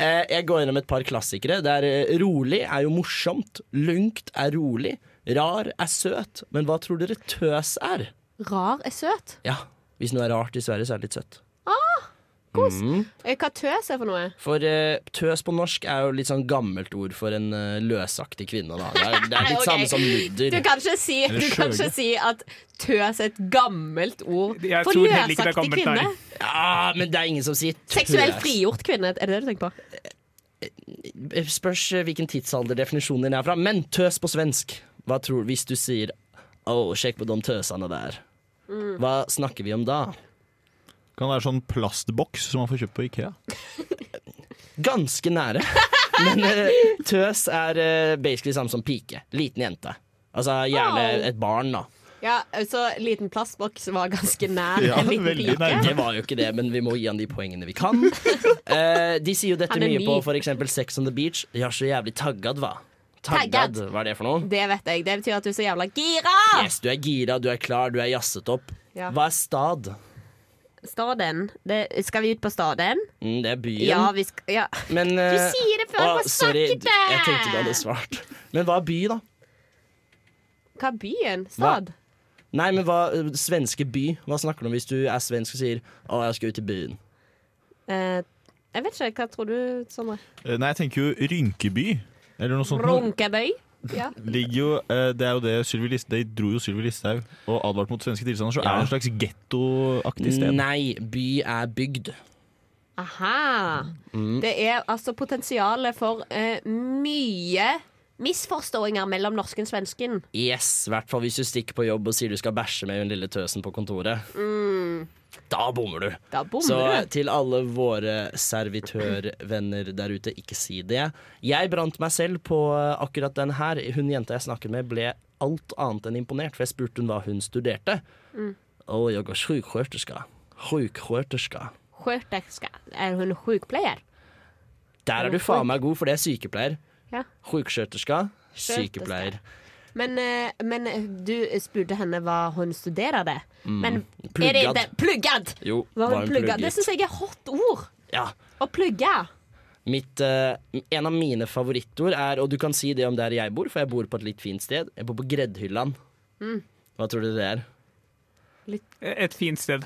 Speaker 3: Eh, Jeg går gjennom et par klassikere. Der eh, rolig er jo morsomt. Lungt er rolig. Rar er søt. Men hva tror dere tøs er?
Speaker 8: Rar er søt.
Speaker 3: Ja, hvis noe er rart i Sverige, så er det litt søtt.
Speaker 8: Ah,
Speaker 3: Mm.
Speaker 8: eh, hva tøs er for noe?
Speaker 3: For eh, tøs på norsk er jo litt sånn gammelt ord for en eh, løsaktig kvinne. Da. Det, er, det er litt
Speaker 8: Ok.
Speaker 3: samme som ludder.
Speaker 8: Du kan ikke si,
Speaker 3: Eller
Speaker 8: du kan
Speaker 3: skjøge.
Speaker 8: ikke si at tøs er et gammelt ord for
Speaker 3: tror heller ikke det er
Speaker 8: løsaktig
Speaker 3: gammelt,
Speaker 8: kvinne.
Speaker 3: nei. Ja, Ah, men det er ingen som sier tøs.
Speaker 8: Seksuelt frigjort kvinne, er det det du tenker på?
Speaker 3: Spørs eh, hvilken tidsalder definisjonen din er fra. Men tøs på svensk. Hva tror Hvis du sier Å, sjekk på de tøsene der. Hva snakker vi om da?
Speaker 9: Kan være sånn plastboks som man får kjøpt på Ikea.
Speaker 3: Ganske nære. Men eh, tøs er eh, basically samme som pike. Liten jente. Altså gjerne
Speaker 8: Au.
Speaker 3: et barn, da.
Speaker 8: Ja, så liten plastboks var ganske nær
Speaker 3: Ja,
Speaker 8: en liten pike.
Speaker 3: Det var jo ikke det, men vi må gi han de poengene vi kan. Eh, de sier jo dette
Speaker 8: Han er
Speaker 3: mye
Speaker 8: ny.
Speaker 3: på f.eks. Sex on the Beach. De har så jævlig taggad, hva? Taggad,
Speaker 8: Taggad.
Speaker 3: hva er det for noe?
Speaker 8: Det vet jeg. Det betyr at du er så jævla gira!
Speaker 3: Yes, du er gira, du er klar, du er jazzet opp.
Speaker 8: Ja.
Speaker 3: Hva er stad?
Speaker 8: Staden. Det, skal vi ut på Staden?
Speaker 3: Mm, det er byen.
Speaker 8: Ja, vi skal ja.
Speaker 3: Men,
Speaker 8: Du
Speaker 3: eh,
Speaker 8: sier det før
Speaker 3: å,
Speaker 8: jeg får
Speaker 3: sorry,
Speaker 8: snakket!
Speaker 3: Jeg tenkte du hadde svart. Men hva er by, da?
Speaker 8: Hva er byen? Stad?
Speaker 3: Nei, men hva, eh, Svenske by. Hva snakker du om hvis du er svensk og sier 'Å, jeg skal ut i byen'?
Speaker 8: Eh, jeg vet ikke. Hva tror du, Sondre?
Speaker 9: Eh, Nei, jeg tenker jo Rynkeby. Eller noe sånt. noe.
Speaker 8: Runkebøy? Ja.
Speaker 9: Ligger jo, eh, det er jo det Sylvi Listhaug De dro jo Sylvi Listhaug og advarte mot svenske tilstander, så
Speaker 3: Ja.
Speaker 9: er det en slags gettoaktig sted.
Speaker 3: Nei, by er bygd.
Speaker 8: Aha.
Speaker 9: Mm.
Speaker 8: Det er altså potensialet for eh, mye misforståinger mellom norsken og svensken.
Speaker 3: Yes, i hvert fall hvis du stikker på jobb og sier du skal bæsje med hun lille tøsen på kontoret.
Speaker 8: Mm.
Speaker 3: Da bommer du.
Speaker 8: Da bommer
Speaker 3: Så eh,
Speaker 8: du.
Speaker 3: til alle våre servitørvenner der ute, ikke si det. Jeg brant meg selv på eh, akkurat den her. Hun jenta jeg snakker med, ble alt annet enn imponert, for jeg spurte hun hva hun studerte.
Speaker 8: Mm.
Speaker 3: Å, jeg er sjuksköterska. Sjuksköterska.
Speaker 8: Sköterska. Er hun sykepleier?
Speaker 3: Der er du faen meg god, for det er sykepleier.
Speaker 8: Ja.
Speaker 3: Sjuksköterska,
Speaker 8: Sköterska.
Speaker 3: sykepleier.
Speaker 8: Men, eh, men du spurte henne hva hun studerade.
Speaker 3: Mm.
Speaker 8: Men er det
Speaker 3: Pluggad.
Speaker 8: det? Pluggad!
Speaker 3: Jo,
Speaker 8: Hva
Speaker 3: var
Speaker 8: hun
Speaker 3: hun
Speaker 8: plugga? Det
Speaker 3: plugget?
Speaker 8: syns jeg er hot ord.
Speaker 3: Ja.
Speaker 8: Å plugge.
Speaker 3: Mitt, eh, en av mine favorittord er, og du kan si det om der jeg bor, for jeg bor på et litt fint sted. Jeg bor på Greddhylland.
Speaker 10: Mm.
Speaker 3: Hva tror du det er?
Speaker 10: Et fint sted.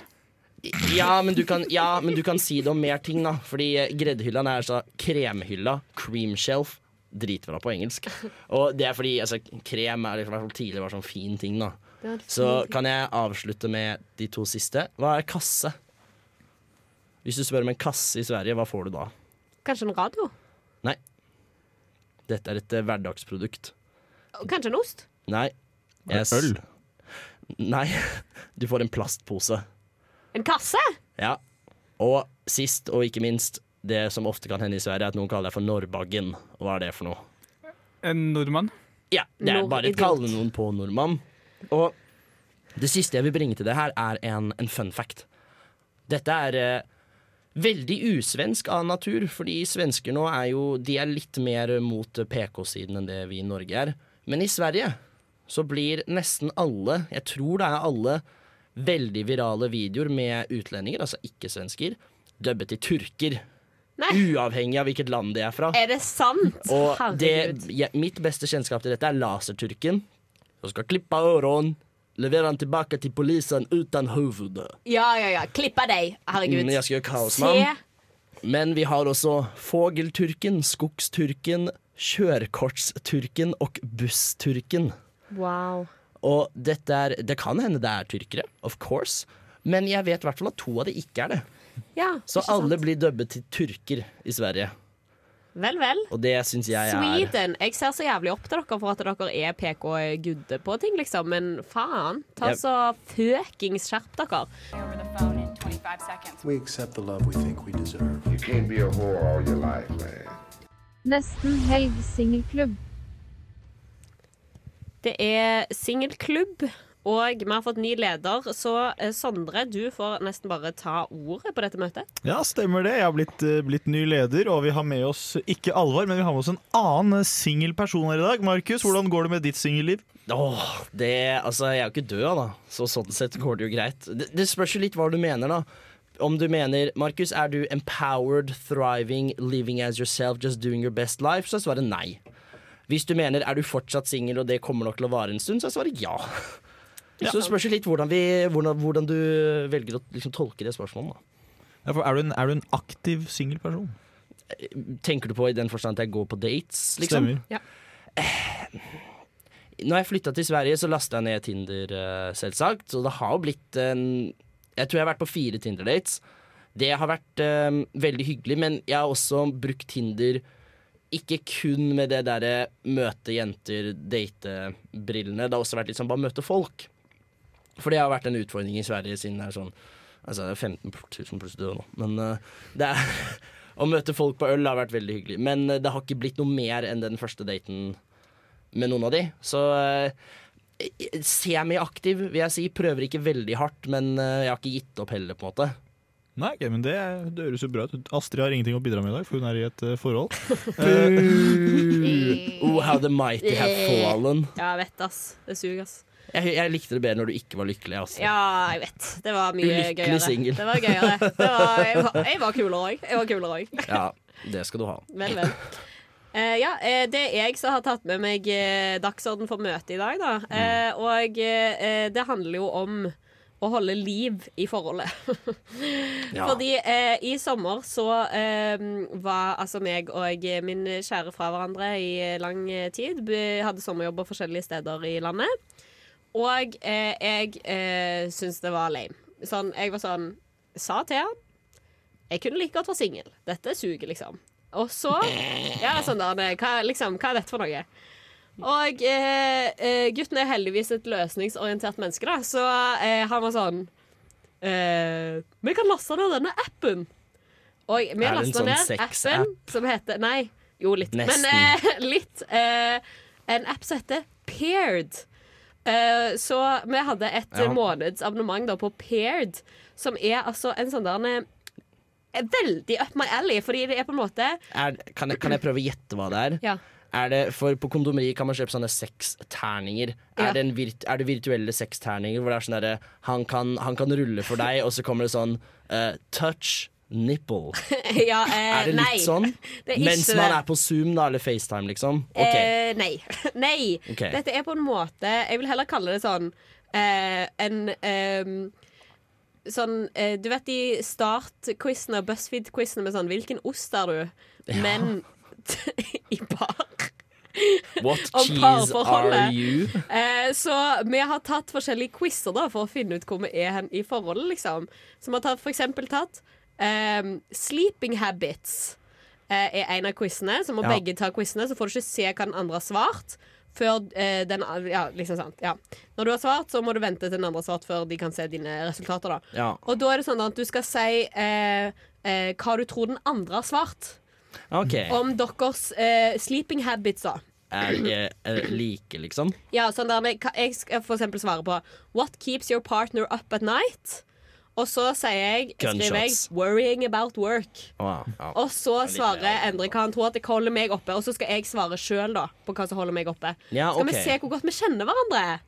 Speaker 3: Ja men, du kan, ja, men du kan si det om mer ting, da. Fordi eh, Greddhylland er altså kremhylla, cream shelf. Dritbra på engelsk. Og det er fordi altså, krem er liksom, i hvert fall tidligere var sånn fin ting, da.
Speaker 8: Det var en fin
Speaker 3: Så
Speaker 8: ting.
Speaker 3: kan jeg avslutte med de to siste. Hva er kasse? Hvis du spør om en kasse i Sverige, hva får du da?
Speaker 8: Kanskje en radio?
Speaker 3: Nei. Dette er et eh, hverdagsprodukt.
Speaker 8: Kanskje en ost?
Speaker 3: Nei.
Speaker 9: Er det
Speaker 3: Jeg s-
Speaker 9: øl?
Speaker 3: Nei. Du får en plastpose.
Speaker 8: En kasse?
Speaker 3: Ja. Og sist og ikke minst, det som ofte kan hende i Sverige, er at noen kaller deg for Norrbaggen. Og Hva er det for noe?
Speaker 10: En nordmann.
Speaker 3: Ja, Det er bare
Speaker 10: Nordidiot.
Speaker 3: kalle noen på nordmann. Og det siste jeg vil bringe til det her, er en, en fun fact. Dette er eh, veldig usvensk av natur, fordi svensker nå er jo De er litt mer mot PK-siden enn det vi i Norge er. Men i Sverige så blir nesten alle, jeg tror det er alle, veldig virale videoer med utlendinger, altså ikke-svensker, dubbet til turker. Uavhengig av hvilket land de er fra.
Speaker 8: Er det sant?
Speaker 3: Og det,
Speaker 8: Herregud.
Speaker 3: ja, mitt beste kjennskap til dette er laserturken. Som skal klippe øren, levere den tilbake til politiet uten hodet.
Speaker 8: Ja, ja, ja. Klippe deg. Herregud.
Speaker 3: Mm, jeg skal gjøre kaos med
Speaker 8: Se.
Speaker 3: ham. Men vi har også fågelturken, skogsturken, kjørkortsturken og bussturken.
Speaker 8: Wow.
Speaker 3: Og dette er, det kan hende det er tyrkere, of course, men jeg vet i hvert fall at to av de ikke er det.
Speaker 8: Ja,
Speaker 3: Så
Speaker 8: ikke
Speaker 3: alle
Speaker 8: sant?
Speaker 3: blir dubbet til turker i Sverige,
Speaker 8: Vel, vel.
Speaker 3: og det syns jeg er
Speaker 8: Sweden. Jeg ser så jævlig opp til dere for at dere er PK gudde på ting, liksom. Men faen. Ta
Speaker 3: Jeg-
Speaker 8: så fuckings skjerp dere.
Speaker 17: We accept the love we think we deserve. You can't be a whore all your life, man.
Speaker 18: Nesten helg singelklubb.
Speaker 8: Det er singelklubb, og vi har fått ny leder. Så eh, Sondre, du får nesten bare ta ordet på dette møtet.
Speaker 9: Ja, stemmer det. Jeg har blitt, eh, blitt ny leder, og vi har med oss ikke Alvar, men vi har med oss en annen eh, singel person her i dag. Markus, hvordan går det med ditt singelliv?
Speaker 3: Åh, det, altså, jeg er jo ikke død, da, så sånn sett går det jo greit. Det, det spørs jo litt hva du mener, da. Om du mener Markus, er du empowered, thriving, living as yourself, just doing your best life, så er svaret nei. Hvis du mener er du fortsatt singel og det kommer nok til å vare en stund, så er svaret ja. Så det spørs jo litt hvordan, vi, hvordan, hvordan du velger å liksom, tolke det spørsmålet. da.
Speaker 9: Ja, for Er du en, er du en aktiv singelperson?
Speaker 3: Tenker du på i den forstand at jeg går på dates, liksom?
Speaker 9: Stemmer.
Speaker 8: Ja.
Speaker 3: Når jeg flytta til Sverige, så lasta jeg ned Tinder, eh, selvsagt. Og det har jo blitt en Jeg tror jeg har vært på fire Tinder-dates. Det har vært eh, veldig hyggelig, men jeg har også brukt Tinder ikke kun med det derre møte jenter, date-brillene. Det har også vært litt sånn bare møte folk. For det har vært en utfordring i Sverige siden det er sånn Altså det er 15 000 pluss døde nå, men eh, det er Å møte folk på øl har vært veldig hyggelig, men eh, det har ikke blitt noe mer enn den første daten med noen av de. Så eh, semi-aktiv, vil jeg si. Prøver ikke veldig hardt, men eh, jeg har ikke gitt opp heller, på en måte.
Speaker 9: Nei, ok, men det, det høres jo bra ut. Astrid har ingenting å bidra med i dag, for hun er i et eh, forhold.
Speaker 3: oh, how the mighty have fallen.
Speaker 8: Ja, jeg vet ass. Det suger, ass.
Speaker 3: Jeg, jeg likte det bedre når du ikke var lykkelig. Altså.
Speaker 8: Ja, jeg vet. Det var mye
Speaker 3: Ulykkelig
Speaker 8: gøyere.
Speaker 3: singel.
Speaker 8: Det var gøyere. Det var, jeg, var, jeg var kulere òg. Jeg var kulere òg.
Speaker 3: Ja, det skal du ha.
Speaker 8: Vel, vel. Eh, ja, eh, det er jeg som har tatt med meg eh, dagsorden for møtet i dag, da. Eh, og eh, det handler jo om å holde liv i forholdet.
Speaker 19: Ja.
Speaker 8: Fordi eh, i sommer så eh, var altså meg og min kjære fra hverandre i eh, lang tid. Vi hadde sommerjobber forskjellige steder i landet. Og eh, jeg eh, syntes det var lame. Sånn, jeg var sånn Sa til han Jeg kunne like godt være singel. Dette suger, liksom. Og så Ja, sånn der, det- hva, liksom, hva er dette for noe? Og eh, eh, gutten er heldigvis et løsningsorientert menneske, da, så eh, han var sånn eh, Vi kan laste ned denne appen. Og vi
Speaker 19: det en
Speaker 8: lasta
Speaker 19: sånn
Speaker 8: ned
Speaker 19: sex-app?
Speaker 8: appen som heter Nei, jo, litt.
Speaker 19: Nesten.
Speaker 8: Men eh, litt. eh, en app som heter Paired. Eh, så vi hadde et
Speaker 19: Ja.
Speaker 8: eh, måneds abonnement da, på Paired, som er altså en sånn der en, eh, Veldig up my alley, fordi det er på en måte
Speaker 3: Er, kan, jeg, kan jeg prøve å gjette hva det er?
Speaker 8: Ja.
Speaker 3: Er det, for På kondomeri kan man kjøpe sånne sexterninger.
Speaker 8: Ja.
Speaker 3: Er, det en virt, er det virtuelle sexterninger hvor det er sånn derre han, kan- han kan rulle for deg, og så kommer det sånn eh, touch nipple.
Speaker 8: ja, eh,
Speaker 3: Er det litt
Speaker 8: nei.
Speaker 3: sånn?
Speaker 8: Det er ikke
Speaker 3: Mens
Speaker 8: det.
Speaker 3: man er på Zoom da, eller FaceTime, liksom? Ok,
Speaker 8: Eh, nei. nei.
Speaker 3: Ok.
Speaker 8: Dette er på en måte Jeg vil heller kalle det sånn eh, en ehm, Sånn, eh, Du vet de Start-quizene og BuzzFeed-quizene med sånn 'Hvilken ost er du?' Men
Speaker 3: What
Speaker 8: om
Speaker 3: cheese are
Speaker 8: parforholdet.
Speaker 3: you?
Speaker 8: Eh, så vi har tatt forskjellige quizer da, for å finne ut hvor vi er hen i forholdet, liksom. Så vi har tatt, for eksempel tatt ehm, Sleeping Habits eh, er en av quizene. Så må
Speaker 19: Ja.
Speaker 8: begge ta quizene, så får du ikke se hva den andre har svart. Før eh, den an- Ja, liksom sant. Ja. Når du har svart, så må du vente til den andre har svart før de kan se dine resultater, da.
Speaker 3: Ja.
Speaker 8: Og da er det sånn at du skal si eh, eh, hva du tror den andre har svart.
Speaker 3: Ok.
Speaker 8: Om deres eh, sleeping habits, da.
Speaker 3: Er det eh, like, liksom?
Speaker 8: Ja, sånn der, men hva- jeg skal for eksempel svare på What keeps your partner up at night? Og så sier jeg, skriver jeg
Speaker 3: Gunshots.
Speaker 8: Worrying about work.
Speaker 3: Wow, ja.
Speaker 8: Og så
Speaker 3: Det er litt
Speaker 8: svarer Endre hva han tror at jeg holder meg oppe, og så skal jeg svare sjøl på hva som holder meg oppe.
Speaker 19: Ja,
Speaker 8: skal
Speaker 19: ok.
Speaker 8: vi se hvor godt vi kjenner hverandre?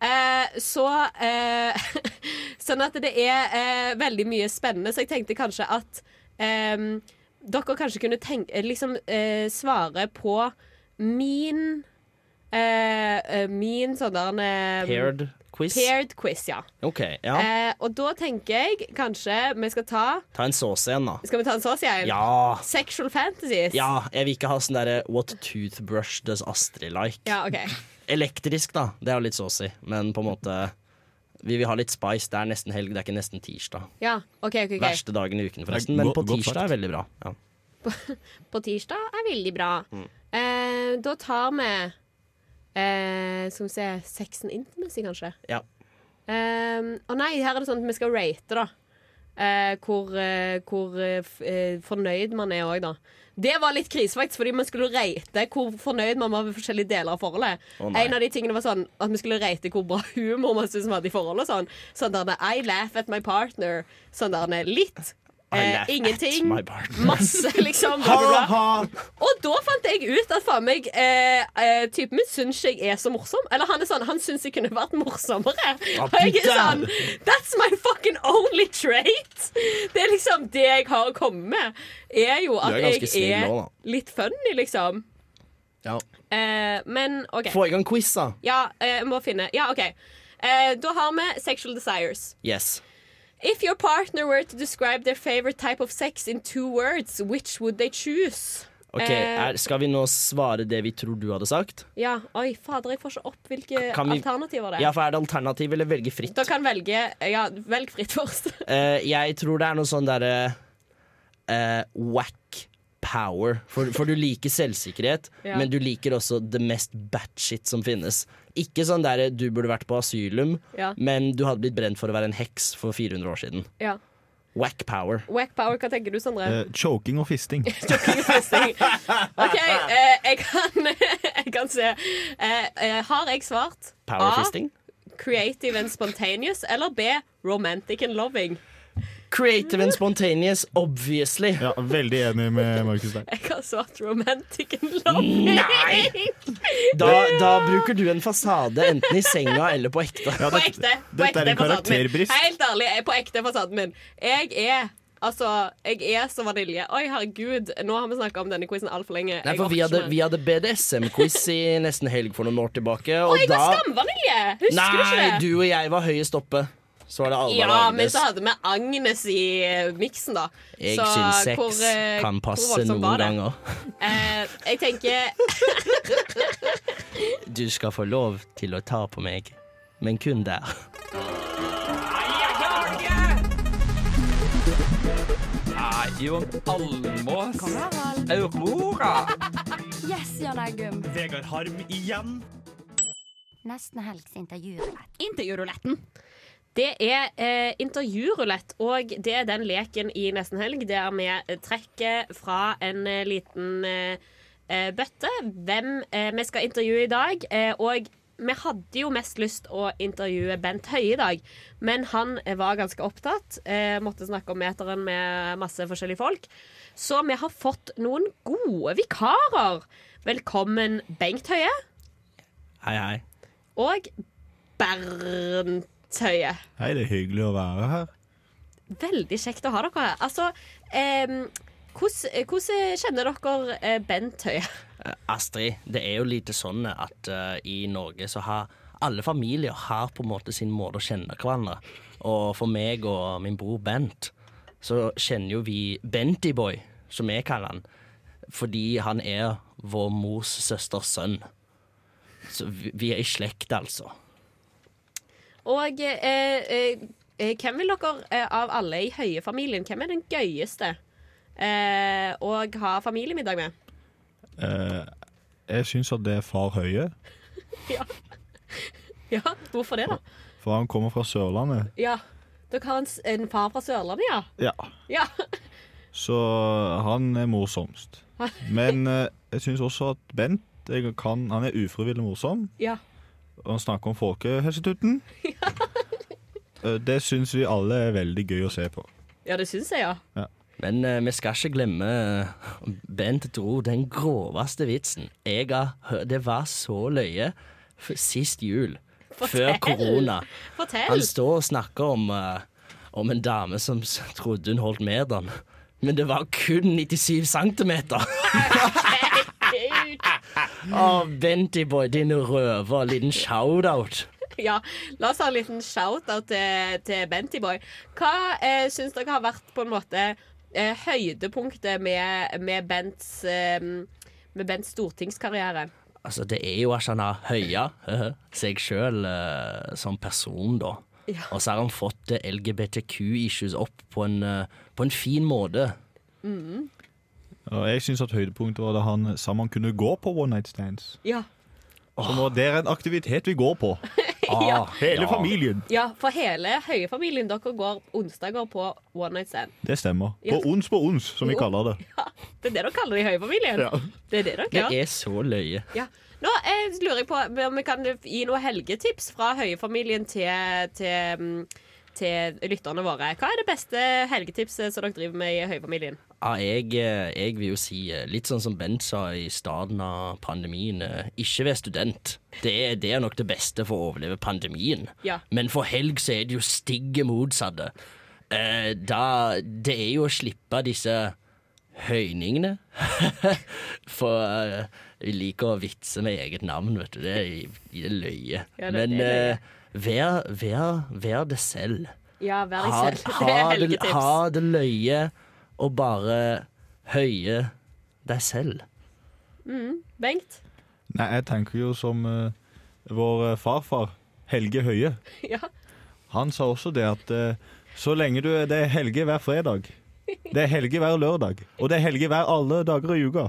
Speaker 8: Eh, så eh, Sånn at det er eh, veldig mye spennende, så jeg tenkte kanskje at eh, dere kanskje kunne tenke, eh, liksom, eh, svare på min eh, eh, Min sånn der eh,
Speaker 3: Paired quiz?
Speaker 8: Paired quiz, ja.
Speaker 3: Ok, ja.
Speaker 8: Eh, og da tenker jeg kanskje vi skal ta
Speaker 3: Ta en sås igjen, da.
Speaker 8: Skal vi ta en sås igjen?
Speaker 3: Ja.
Speaker 8: Sexual fantasies?
Speaker 3: Ja, jeg vil ikke ha sånn derre What toothbrush does Astrid like?
Speaker 8: Ja, OK.
Speaker 3: Elektrisk, da. Det er jo litt saucy, men på en måte Vi vil ha litt spice. Det er nesten helg, det er ikke nesten tirsdag.
Speaker 8: Ja, ok, ok, ok.
Speaker 3: Verste dagen i uken, forresten,
Speaker 9: Det er
Speaker 3: men
Speaker 9: go-
Speaker 3: på
Speaker 9: godt
Speaker 3: tirsdag er veldig bra. Ja.
Speaker 8: På tirsdag er veldig bra.
Speaker 3: Mm.
Speaker 8: Eh, da tar vi eh, Skal vi se Sex and intimacy, kanskje?
Speaker 3: Ja.
Speaker 8: Eh, Å nei, her er det sånn at vi skal rate, da. Eh, hvor eh, hvor eh, f eh, fornøyd man er òg, da. Det var litt krise, faktisk, fordi vi skulle rate hvor fornøyd man var med forskjellige deler av forholdet.
Speaker 19: Å, nei.
Speaker 8: en av de tingene var sånn at vi skulle rate hvor bra humor man syntes vi hadde i forholdet. og Sånn, sånn der I laugh at my partner. Sånn der litt.
Speaker 19: I
Speaker 8: Eh,
Speaker 19: laugh at
Speaker 8: ingenting.
Speaker 19: my partner.
Speaker 8: Masse, liksom. Bla, bla, bla. Og da fant jeg ut at faen meg eh, eh, typen min syns jeg er så morsom. Eller han er sånn, han syns jeg kunne vært morsommere.
Speaker 19: Ja,
Speaker 8: Og jeg er
Speaker 19: damn.
Speaker 8: sånn That's my fucking only trait! Det er liksom det jeg har å komme med. Er jo at
Speaker 3: Du er ganske
Speaker 8: jeg
Speaker 3: snill
Speaker 8: er
Speaker 3: nå, da.
Speaker 8: litt funny, liksom.
Speaker 3: Ja.
Speaker 8: Eh, men OK.
Speaker 3: Få i gang quiz, da.
Speaker 8: Ja, eh, jeg må finne Ja, OK. Eh, da har vi sexual desires.
Speaker 3: Yes.
Speaker 8: If your partner were to describe their favorite type of sex in two words, which would they choose?
Speaker 3: Ok,
Speaker 8: Eh,
Speaker 3: er, Skal vi nå svare det vi tror du hadde sagt?
Speaker 8: Ja, oi, fader, jeg får ikke opp hvilke
Speaker 3: Kan vi-
Speaker 8: alternativer det er.
Speaker 3: Ja, for Er det alternativ eller velge fritt?
Speaker 8: Dere kan velge Ja, velg fritt først.
Speaker 3: Eh, jeg tror det er noe sånn derre eh, whack power. For, for du liker selvsikkerhet,
Speaker 19: Ja.
Speaker 3: men du liker også det mest batshit som finnes. Ikke sånn derre du burde vært på asylum,
Speaker 8: Ja.
Speaker 3: men du hadde blitt brent for å være en heks for 400 år siden.
Speaker 8: Ja.
Speaker 3: Whack power.
Speaker 8: Wack power, hva tenker du,
Speaker 3: Eh.
Speaker 8: Sondre?
Speaker 9: Eh, choking og fisting.
Speaker 8: OK, eh, jeg kan Jeg kan se. Eh, eh, har jeg svart
Speaker 3: Ah. Powerfisting?
Speaker 8: A. Creative and spontaneous, eller B. Romantic and loving?
Speaker 3: Creative and spontaneous, obviously.
Speaker 9: Ja, Veldig enig med Markus der.
Speaker 8: Jeg har svart romantic and loving.
Speaker 3: Nei! Da, da bruker du en fasade enten i senga eller på ekte.
Speaker 8: på ekte. På ekte fasaden min. Helt ærlig, jeg er på ekte fasaden min. Jeg er Altså, jeg er så vanilje. Oi, herregud, nå har vi snakka om denne quizen altfor lenge.
Speaker 3: Nei,
Speaker 8: Jeg
Speaker 3: for vi
Speaker 8: orker
Speaker 3: hadde,
Speaker 8: ikke mer.
Speaker 3: vi hadde BDSM-quiz i nesten helg for noen år tilbake.
Speaker 8: Å,
Speaker 3: Og
Speaker 8: jeg var
Speaker 3: da
Speaker 8: skamvanilje! Husker du ikke
Speaker 3: Nei,
Speaker 8: det?
Speaker 3: du og jeg var høyest oppe. Så var det Alvar
Speaker 8: Ja,
Speaker 3: og
Speaker 8: men
Speaker 3: Agnes.
Speaker 8: så hadde vi Agnes i eh, miksen, da.
Speaker 3: Jeg
Speaker 8: Så
Speaker 3: syns sex
Speaker 8: hvor, eh,
Speaker 3: kan
Speaker 8: hvor
Speaker 3: passe
Speaker 8: voldsomt var det?
Speaker 3: noen ganger.
Speaker 8: Eh, jeg tenker
Speaker 3: Du skal få lov til å ta på meg, men kun der.
Speaker 4: Jon Almås. Aurora.
Speaker 19: Yes, Jan Eggum.
Speaker 4: Vegard Harm igjen.
Speaker 19: Nesten helgs intervjurulett.
Speaker 8: Intervjuruletten. Det er eh, intervjurulett, og det er den leken i Nesten helg der vi trekker fra en eh, liten eh, eh, bøtte hvem eh, vi skal intervjue i dag. Eh, og vi hadde jo mest lyst å intervjue Bent Høie i dag, men han eh, var ganske opptatt. Eh, måtte snakke om meteren med masse forskjellige folk. Så vi har fått noen gode vikarer. Velkommen, Bengt Høie.
Speaker 3: Hei, hei.
Speaker 8: Og Bernt Høie.
Speaker 9: Hei, det er hyggelig å være her.
Speaker 8: Veldig kjekt å ha dere her. Altså, ehm, hvordan hvordan kjenner dere eh, Bent Høie?
Speaker 3: Eh, Astrid, det er jo lite sånn at eh, i Norge så har alle familier har på en måte sin måte å kjenne hverandre. Og for meg og min bror Bent, så kjenner jo vi Bentyboy, som jeg kaller han, fordi han er vår mors søsters sønn. Så vi, vi er i slekt, altså.
Speaker 8: Og eh, eh, eh, hvem vil dere eh, av alle i Høie-familien, hvem er den gøyeste eh, å ha familiemiddag med?
Speaker 9: Eh, jeg syns at det er far Høie,
Speaker 8: ja. ja, hvorfor det, da?
Speaker 9: for han kommer fra Sørlandet.
Speaker 8: Ja, Dere har en, s- en far fra Sørlandet, ja?
Speaker 9: Ja,
Speaker 8: Ja.
Speaker 9: Så han er morsomst. Men eh, jeg syns også at Bent jeg kan, han er ufrivillig morsom.
Speaker 8: ja.
Speaker 9: Og han snakker om folkehelsetuten. Eh, det syns vi alle er veldig gøy å se på.
Speaker 8: Ja, det syns jeg, ja.
Speaker 3: Men eh, vi skal ikke glemme eh, Bent dro den groveste vitsen. Jeg har hørt Det var så løye f- sist jul, før
Speaker 8: Fortell.
Speaker 3: korona.
Speaker 8: Fortell.
Speaker 3: Han står og snakker om, eh, om en dame som s- trodde hun holdt meteren, men det var kun 97 centimeter. Å, Bentyboy, din røver. Liten shout-out.
Speaker 8: Ja, La oss ha en liten shout-out til, til Bentyboy. Hva eh, syns dere har vært på en måte eh, høydepunktet med, med, Bents, eh, med Bents stortingskarriere?
Speaker 3: Altså, det er jo at han har høya eh, seg sjøl eh, som person, da.
Speaker 8: Ja.
Speaker 3: Og så har han fått eh, LGBTQ-issues opp på en, eh, på en fin måte.
Speaker 8: Mm.
Speaker 9: Og jeg syns at høydepunktet var da han sammen kunne gå på one night stands.
Speaker 8: Ja.
Speaker 9: Så nå, det er en aktivitet vi går på. Ah,
Speaker 8: Ja.
Speaker 9: Hele
Speaker 8: Ja.
Speaker 9: familien.
Speaker 8: ja, for hele Høie-familien dere går onsdager på one night stand.
Speaker 9: Det stemmer.
Speaker 8: Ja.
Speaker 9: På ons på ons, som vi
Speaker 8: Jo.
Speaker 9: kaller det.
Speaker 8: Det er det dere kaller det i Høie-familien?
Speaker 9: Ja.
Speaker 8: Det er det dere gjør.
Speaker 3: Det er så løye.
Speaker 8: Ja. Nå eh, lurer jeg på om vi kan gi noen helgetips fra Høie-familien til, til, mm, til lytterne våre. Hva er det beste helgetipset som dere driver med i Høie-familien?
Speaker 3: Ja, jeg, eh, jeg vil jo si, eh, litt sånn som Bent sa i starten av pandemien, eh, ikke vær student. Det, er- det er nok det beste for å overleve pandemien.
Speaker 8: Ja.
Speaker 3: Men for helg så er det jo stigge motsatte. Eh, da, det er jo å slippe disse høyningene. for eh, vi liker å vitse med eget navn, vet du. Det er, i- i det løye.
Speaker 8: Ja, det-
Speaker 3: Men
Speaker 8: det er løye.
Speaker 3: eh, vær, vær, vær det selv.
Speaker 8: Ja, vær deg
Speaker 3: Ha-
Speaker 8: selv. Det er
Speaker 3: Ha det,
Speaker 8: helgetips.
Speaker 3: ha det løye og bare høye deg selv.
Speaker 8: Mm. Bengt?
Speaker 9: Nei, jeg tenker jo som eh, vår eh, farfar, Helge Høie.
Speaker 8: Ja.
Speaker 9: Han sa også det at eh, så lenge du Det er helge hver fredag. Det er helge hver lørdag. Og det er helge hver alle dager i uka.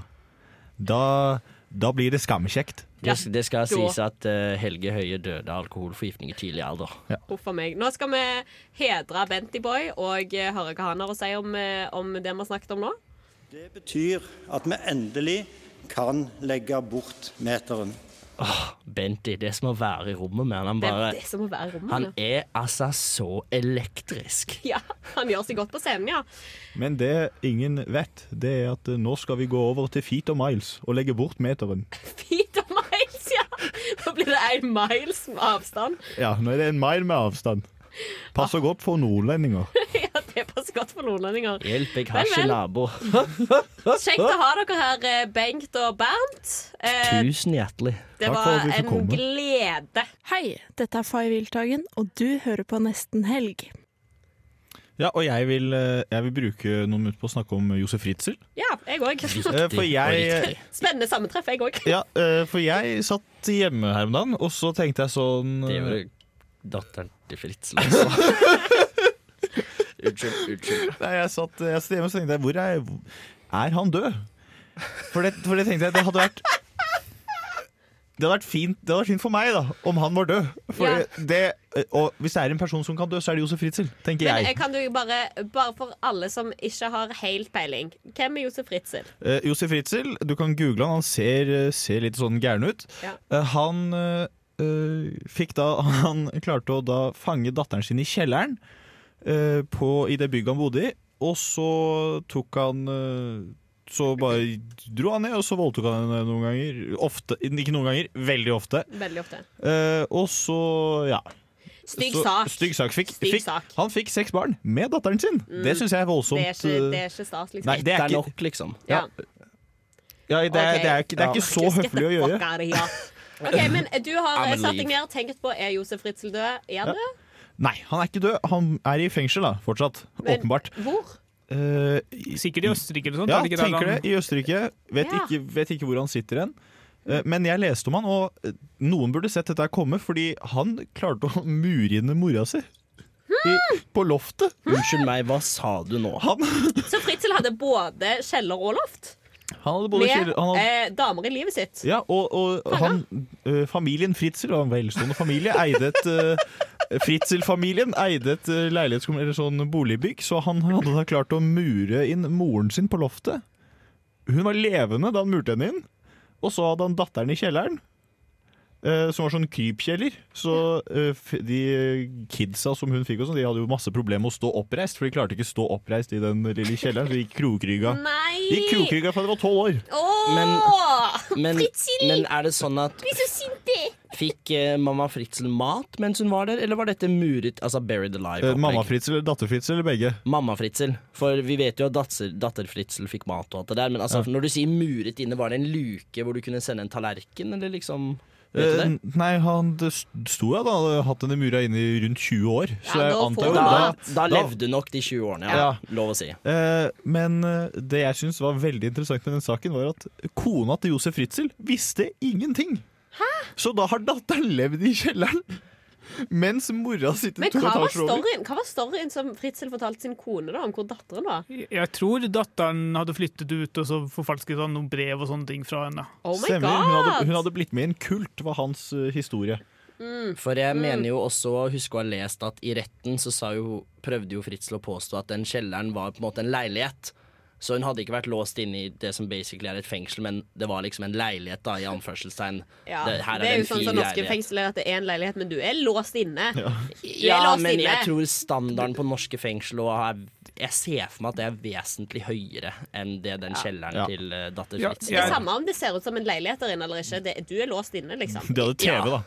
Speaker 9: Da, da blir det skamkjekt.
Speaker 3: Det, det skal
Speaker 8: Da-
Speaker 3: sies at eh, Helge Høie døde av alkoholforgiftning i tidlig alder.
Speaker 8: Huff a meg. Nå skal vi hedre Bentyboy og eh, høre hva han har å si om, eh, om det vi har snakket om nå.
Speaker 20: Det betyr at vi endelig kan legge bort meteren.
Speaker 3: Åh, Bent det er det som å være i rommet med han. Han,
Speaker 8: Det er
Speaker 3: bare,
Speaker 8: det som må være rommet.
Speaker 3: han
Speaker 8: ja.
Speaker 3: er altså så elektrisk.
Speaker 8: Ja, han gjør seg godt på scenen, ja.
Speaker 9: Men det ingen vet, det er at eh, nå skal vi gå over til feet og miles og legge bort meteren.
Speaker 8: Peter Miles, ja! Da blir det én miles med avstand.
Speaker 9: Ja, nå er det en mile med avstand. Passer godt for nordlendinger.
Speaker 8: Ja, det passer godt for nordlendinger.
Speaker 3: Hjelp, jeg
Speaker 8: Vel,
Speaker 3: har ikke
Speaker 8: vel.
Speaker 3: nabo.
Speaker 8: Kjekt å ha dere her, eh, Bengt og Bernt. Eh,
Speaker 3: Tusen hjertelig.
Speaker 8: det var en glede.
Speaker 20: Hei, dette er Fay Wiltagen, og du hører på Nesten Helg.
Speaker 9: Ja, og jeg vil, eh, jeg vil bruke noen minutter på å snakke om Josef Ritzel.
Speaker 8: Ja, jeg òg.
Speaker 9: Eh, for jeg-
Speaker 8: Spennende sammentreff, jeg òg.
Speaker 9: Ja, eh, for jeg satt hjemme her om dagen, og så tenkte jeg sånn
Speaker 3: Det
Speaker 9: eh,
Speaker 3: gjorde datteren til Fritzel,
Speaker 9: liksom.
Speaker 3: altså. Unnskyld, unnskyld.
Speaker 9: Nei, jeg satt, jeg satt hjemme og så tenkte jeg, hvor er, er han død? For det, for det tenkte jeg, det hadde vært det hadde, vært fint, det hadde vært fint for meg da, om han var død. For
Speaker 8: Ja.
Speaker 9: det, og hvis det er en person som kan dø, så er det Josef Ritzel, tenker
Speaker 8: Men eh,
Speaker 9: jeg.
Speaker 8: kan du bare, bare for alle som ikke har helt peiling, hvem er Josef Ritzel?
Speaker 9: Eh, Josef Ritzel, du kan google han, han ser, ser litt sånn gæren ut.
Speaker 8: Ja.
Speaker 9: Eh, han eh, eh, fikk da, han klarte å da fange datteren sin i kjelleren eh, på, i det bygget han bodde i, og så tok han eh, så bare dro han ned, og så voldtok han henne noen ganger. Ofte, ikke noen ganger, veldig ofte.
Speaker 8: Veldig ofte.
Speaker 9: Eh, og så, ja.
Speaker 8: Stygg
Speaker 9: Så-
Speaker 8: sak.
Speaker 9: Stygg sak. Fikk,
Speaker 8: Stygg
Speaker 9: fikk,
Speaker 8: sak.
Speaker 9: Han fikk seks barn med datteren sin.
Speaker 8: Mm.
Speaker 9: Det syns jeg er voldsomt.
Speaker 8: Det er ikke, det
Speaker 9: eh,
Speaker 8: er ikke stas, liksom.
Speaker 9: Nei, det er ikke
Speaker 3: liksom.
Speaker 8: Ja.
Speaker 9: Ja, det, er,
Speaker 8: Ok.
Speaker 9: det, er, ikke- det er ikke så
Speaker 8: Just get
Speaker 9: høflig å
Speaker 8: the
Speaker 9: gjøre.
Speaker 8: fuck out of here. Ok, men Du har
Speaker 9: I'm
Speaker 8: eh,
Speaker 9: a
Speaker 8: satt
Speaker 9: leave.
Speaker 8: deg ned og tenkt på er Josef Ritzel død. Er han
Speaker 9: Ja.
Speaker 8: død?
Speaker 9: Nei, han er ikke død. Han er i fengsel da, fortsatt.
Speaker 8: Men-
Speaker 9: Åpenbart.
Speaker 8: Hvor?
Speaker 9: Sikkert
Speaker 10: i Østerrike eller sånt,
Speaker 9: Ja,
Speaker 10: er det ikke der
Speaker 9: tenker det.
Speaker 10: han-
Speaker 9: I Østerrike. Vet,
Speaker 10: Ja.
Speaker 9: ikke, vet ikke hvor han sitter hen. Eh, Men jeg leste om han, og eh, noen burde sett dette her komme, fordi han klarte å mure inne mora si. I, på loftet.
Speaker 3: Unnskyld meg, hva sa du nå?
Speaker 9: Han,
Speaker 8: Så Fritzel hadde både kjeller og loft?
Speaker 9: han hadde både
Speaker 8: Med
Speaker 9: kjeller han hadde,
Speaker 8: eh, damer i livet sitt?
Speaker 9: Ja, og, og han, eh, familien Fritzel, og en velstående familie, eide et eh, Fritzel-familien eide et eh, leilighetskom- eller sånn boligbygg, så han hadde da klart å mure inn moren sin på loftet. Hun var levende da han murte henne inn, og så hadde han datteren i kjelleren. eh, som var sånn krypkjeller. Så eh, f- de kidsa som hun fikk, og sånn, de hadde jo masse problemer med å stå oppreist, for de klarte ikke å stå oppreist i den lille kjelleren. Så de gikk krokrygga.
Speaker 8: Nei!
Speaker 9: De gikk krokrygga fra de var tolv år.
Speaker 8: Åh!
Speaker 3: Men,
Speaker 8: Fritzel!
Speaker 3: men er det sånn at
Speaker 8: Blir så sint, jeg!
Speaker 3: Fikk eh, mamma Fritzel mat mens hun var der, eller var dette muret altså buried alive?
Speaker 9: Eh, mamma Fritzel eller datter Fritzel eller begge?
Speaker 3: Mamma Fritzel, for vi vet jo at datter, datter Fritzel fikk mat og alt det der, men altså,
Speaker 9: Ja.
Speaker 3: når du sier muret inne, var det en luke hvor du kunne sende en tallerken, eller liksom Vet du
Speaker 9: Eh,
Speaker 3: det?
Speaker 9: n- Nei, han det sto jeg da hadde hatt henne mura inne i rundt 20 år. Så jeg antar jo
Speaker 3: da,
Speaker 9: da,
Speaker 3: da levde nok de 20 årene, ja.
Speaker 9: Ja.
Speaker 3: Lov å si.
Speaker 9: Eh, men eh, det jeg syns var veldig interessant med den saken, var at kona til Josef Ritzel visste ingenting. Så da har datteren levd i kjelleren mens mora sitter
Speaker 8: Men
Speaker 9: to
Speaker 8: hva var
Speaker 9: etasjer over.
Speaker 8: storyen, hva var storyen som Fritzel fortalte sin kone da, om hvor datteren var?
Speaker 10: Jeg tror datteren hadde flyttet ut, og så forfalsket han noen brev og sånne ting fra henne.
Speaker 8: Oh my
Speaker 9: Stemmer.
Speaker 8: god!
Speaker 9: Hun hadde, hun hadde blitt med i en kult, var hans eh, historie.
Speaker 3: For jeg
Speaker 9: Mm.
Speaker 3: mener jo også å huske å ha lest at i retten så sa jo, prøvde jo Fritzel å påstå at den kjelleren var på en måte en leilighet. Så hun hadde ikke vært låst inne i det som basically er et fengsel, men det var liksom en leilighet, da, i anførselstegn.
Speaker 8: Ja, det,
Speaker 3: Det- her
Speaker 8: er
Speaker 3: en
Speaker 8: jo sånn
Speaker 3: fin
Speaker 8: som norske
Speaker 3: leilighet.
Speaker 8: fengsler, at det er en leilighet, men du er låst inne.
Speaker 3: Ja.
Speaker 8: Du er
Speaker 3: Ja,
Speaker 8: låst
Speaker 3: men
Speaker 8: inne.
Speaker 3: jeg tror standarden på norske fengsel og er, Jeg ser for meg at det er vesentlig høyere enn det den kjelleren til eh, datter
Speaker 8: Ja,
Speaker 3: Fritzel
Speaker 8: Det er samme om det ser ut som en leilighet der inne eller ikke. Det, du er låst inne, liksom.
Speaker 9: De hadde TV, da.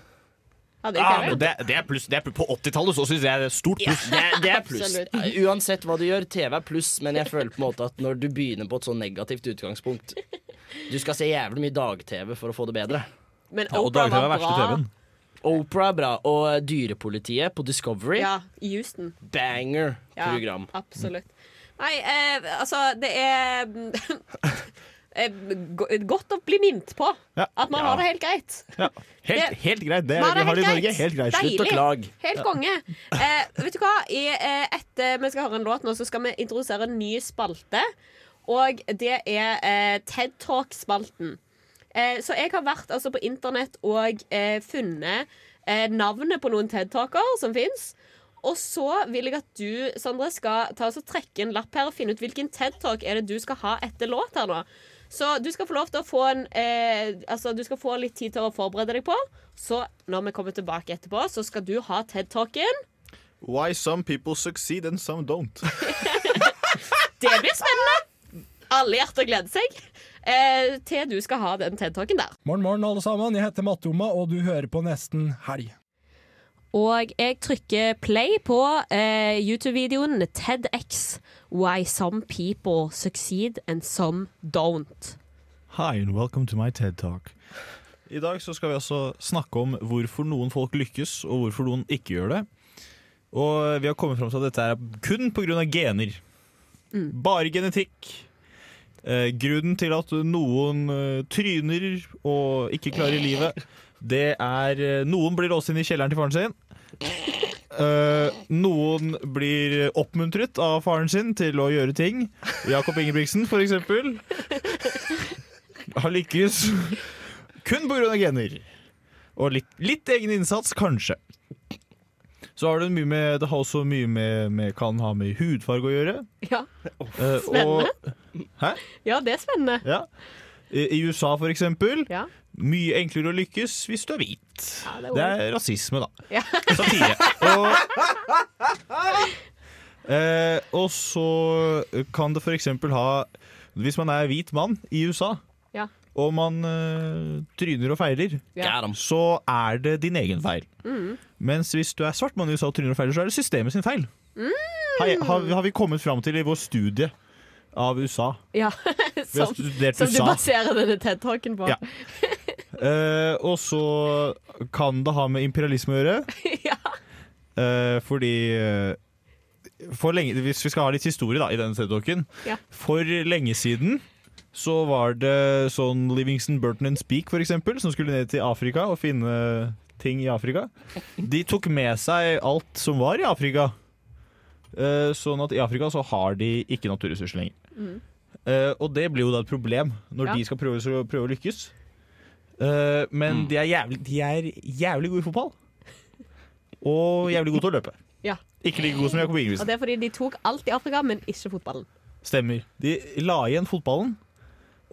Speaker 8: Hadde
Speaker 9: Ah,
Speaker 8: ikke
Speaker 9: men
Speaker 8: det?
Speaker 9: det, det er pluss. Det er pl- på 80-tallet så syns jeg det er stort pluss.
Speaker 3: Det, det er pluss.
Speaker 8: Absolutt.
Speaker 3: Uansett hva du gjør, TV er pluss, men jeg føler på en måte at når du begynner på et så negativt utgangspunkt Du skal se jævlig mye dag-TV for å få det bedre.
Speaker 8: Men Oprah var bra.
Speaker 3: Oprah er bra, og eh, Dyrepolitiet på Discovery.
Speaker 8: Ja, i Houston.
Speaker 3: Banger
Speaker 8: Ja,
Speaker 3: program.
Speaker 8: Absolutt. Nei, eh, altså, det er eh, go- Godt å bli minnet på
Speaker 9: Ja.
Speaker 8: at man
Speaker 9: Ja.
Speaker 8: har det helt greit.
Speaker 9: Ja. Helt,
Speaker 8: Det-
Speaker 9: helt greit. Det,
Speaker 8: Man
Speaker 9: er- vi har det i
Speaker 8: helt
Speaker 9: Norge. Helt greit.
Speaker 8: Deilig.
Speaker 9: Slutt å klage.
Speaker 8: Helt konge. Eh, vet du hva? I, eh, etter vi skal høre en låt nå, så skal vi introdusere en ny spalte. Og det er eh, TED Talk-spalten. Eh, så jeg har vært altså, på internett og eh, funnet eh, navnet på noen TED Talker som fins. Og så vil jeg at du, Sondre, skal ta oss og trekke en lapp her og finne ut hvilken TED Talk er det du skal ha etter låt her nå. Så du skal få lov til å få en eh, Altså, du skal få litt tid til å forberede deg på. Så når vi kommer tilbake etterpå, så skal du ha TED Talken.
Speaker 9: Why some people succeed and some don't.
Speaker 8: Det blir spennende! Alle hjerter gleder seg eh, til du skal ha den TED Talken der.
Speaker 21: Morgen, morgen, alle sammen. Jeg heter Matoma, og du hører på Nesten Helg.
Speaker 8: Og jeg trykker play på eh, YouTube-videoen TEDX Why some people succeed and some don't.
Speaker 9: Hi and welcome to my TED Talk. I dag så skal vi altså snakke om hvorfor noen folk lykkes, og hvorfor noen ikke gjør det. Og vi har kommet fram til at dette er kun pga. gener. Bare genetikk. Eh, grunnen til at noen eh, tryner og ikke klarer livet, det er eh, Noen blir låst inn i kjelleren til faren sin. Eh, noen blir oppmuntret av faren sin til å gjøre ting. Jakob Ingebrigtsen, for eksempel. Har lykkes kun pga. gener. Og litt, litt egen innsats, kanskje. Så har det, mye med, det har også mye med, med kan ha med hudfarge å gjøre.
Speaker 8: Ja.
Speaker 9: Eh,
Speaker 8: Spennende.
Speaker 9: og- hæ?
Speaker 8: ja, det er spennende.
Speaker 9: Ja. I, I USA, for eksempel.
Speaker 8: Ja.
Speaker 9: Mye enklere å lykkes hvis du er hvit.
Speaker 8: Ja, det er
Speaker 9: det er rasisme, da.
Speaker 8: Ja.
Speaker 9: Satire. Og, eh, og så kan det for eksempel ha Hvis man er hvit mann i USA,
Speaker 8: Ja.
Speaker 9: og man eh, tryner og feiler,
Speaker 8: Ja.
Speaker 9: så er det din egen feil.
Speaker 8: Mm.
Speaker 9: Mens hvis du er svart mann i USA og tryner og feiler, så er det systemet sin feil. Har, jeg- har, har vi kommet fram til i vår studie av USA?
Speaker 8: Ja,
Speaker 9: Vi har
Speaker 8: som,
Speaker 9: studert
Speaker 8: som du
Speaker 9: USA.
Speaker 8: baserer denne TED-talken på.
Speaker 9: Ja. Eh, og så kan det ha med imperialisme å gjøre. Eh, fordi eh, for lenge, Hvis vi skal ha litt historie da, i denne TED-talken
Speaker 8: Ja.
Speaker 9: For lenge siden så var det sånn Livingston Burton and Speak, for eksempel, som skulle ned til Afrika og finne ting i Afrika. De tok med seg alt som var i Afrika. Eh, sånn at i Afrika så har de ikke naturressurser lenger.
Speaker 1: Mm.
Speaker 9: Eh, og det blir jo da et problem når
Speaker 1: Ja.
Speaker 9: de skal prøve, så- prøve å lykkes. Eh, men de, er jævlig, de er jævlig gode i fotball. Og jævlig gode til å løpe.
Speaker 8: Ja.
Speaker 9: Ikke like gode som Jakob
Speaker 8: Og
Speaker 9: Ingebrigtsen.
Speaker 8: det er fordi de tok alt i Afrika, men ikke fotballen.
Speaker 9: Stemmer. De la igjen fotballen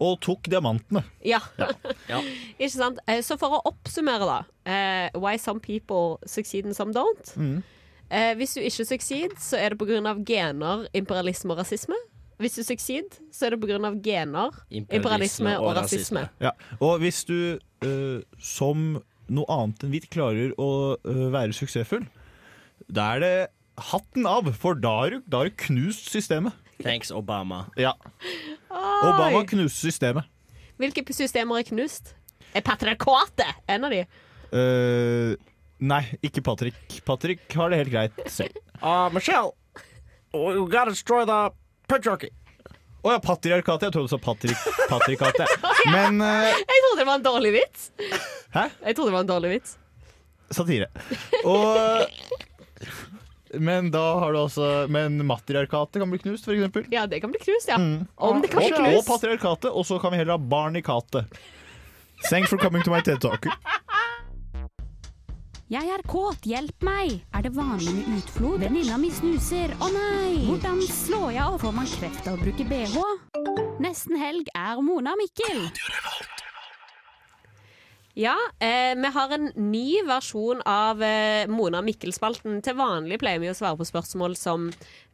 Speaker 9: og tok diamantene.
Speaker 8: Ja.
Speaker 9: Ja.
Speaker 8: ikke sant? Eh, Så for å oppsummere, da. eh, why some people succeed and some don't.
Speaker 9: Mm.
Speaker 8: Eh, hvis du ikke succeed, så er det pga. gener, imperialisme og rasisme. Hvis du succeed, så er det pga. gener, imperialisme, og, rasisme.
Speaker 9: Ja. Og hvis du eh, som noe annet enn hvit klarer å eh, være suksessfull, da er det hatten av, for da har du- da har du knust systemet.
Speaker 3: Thanks, Obama.
Speaker 9: Ja.
Speaker 8: Oi!
Speaker 9: Obama knuste systemet.
Speaker 8: Hvilke systemer er knust? Er patriarkatet en av de?
Speaker 9: Eh, nei, ikke Patrick. Patrick har det helt greit selv.
Speaker 22: Uh, Michelle, we gotta destroy the patriarchy.
Speaker 9: Å ja, patriarkatet. Jeg trodde du sa Patrick. Patrikatet. Men eh,
Speaker 8: Jeg trodde det var en dårlig vits.
Speaker 9: Hæ?
Speaker 8: Jeg trodde det var en dårlig vits.
Speaker 9: Satire. Og Men da har du altså Men matriarkatet kan bli knust, for eksempel.
Speaker 8: Ja, det kan bli knust, ja. Om det kan bli
Speaker 9: Mm. og, og
Speaker 8: knust.
Speaker 9: patriarkatet, og så kan vi heller ha barn i katet. Thanks for coming to my TED Talk.
Speaker 19: Jeg er kåt, hjelp meg! Er det vanlig med utflod? Venninna mi snuser, å nei! Hvordan slår jeg av? Får man kreft av å bruke bh? Nesten helg er Mona og Mikkel.
Speaker 8: Ja, eh, vi har en ny versjon av eh, Mona Mikkelspalten. Til vanlig pleier vi å svare på spørsmål som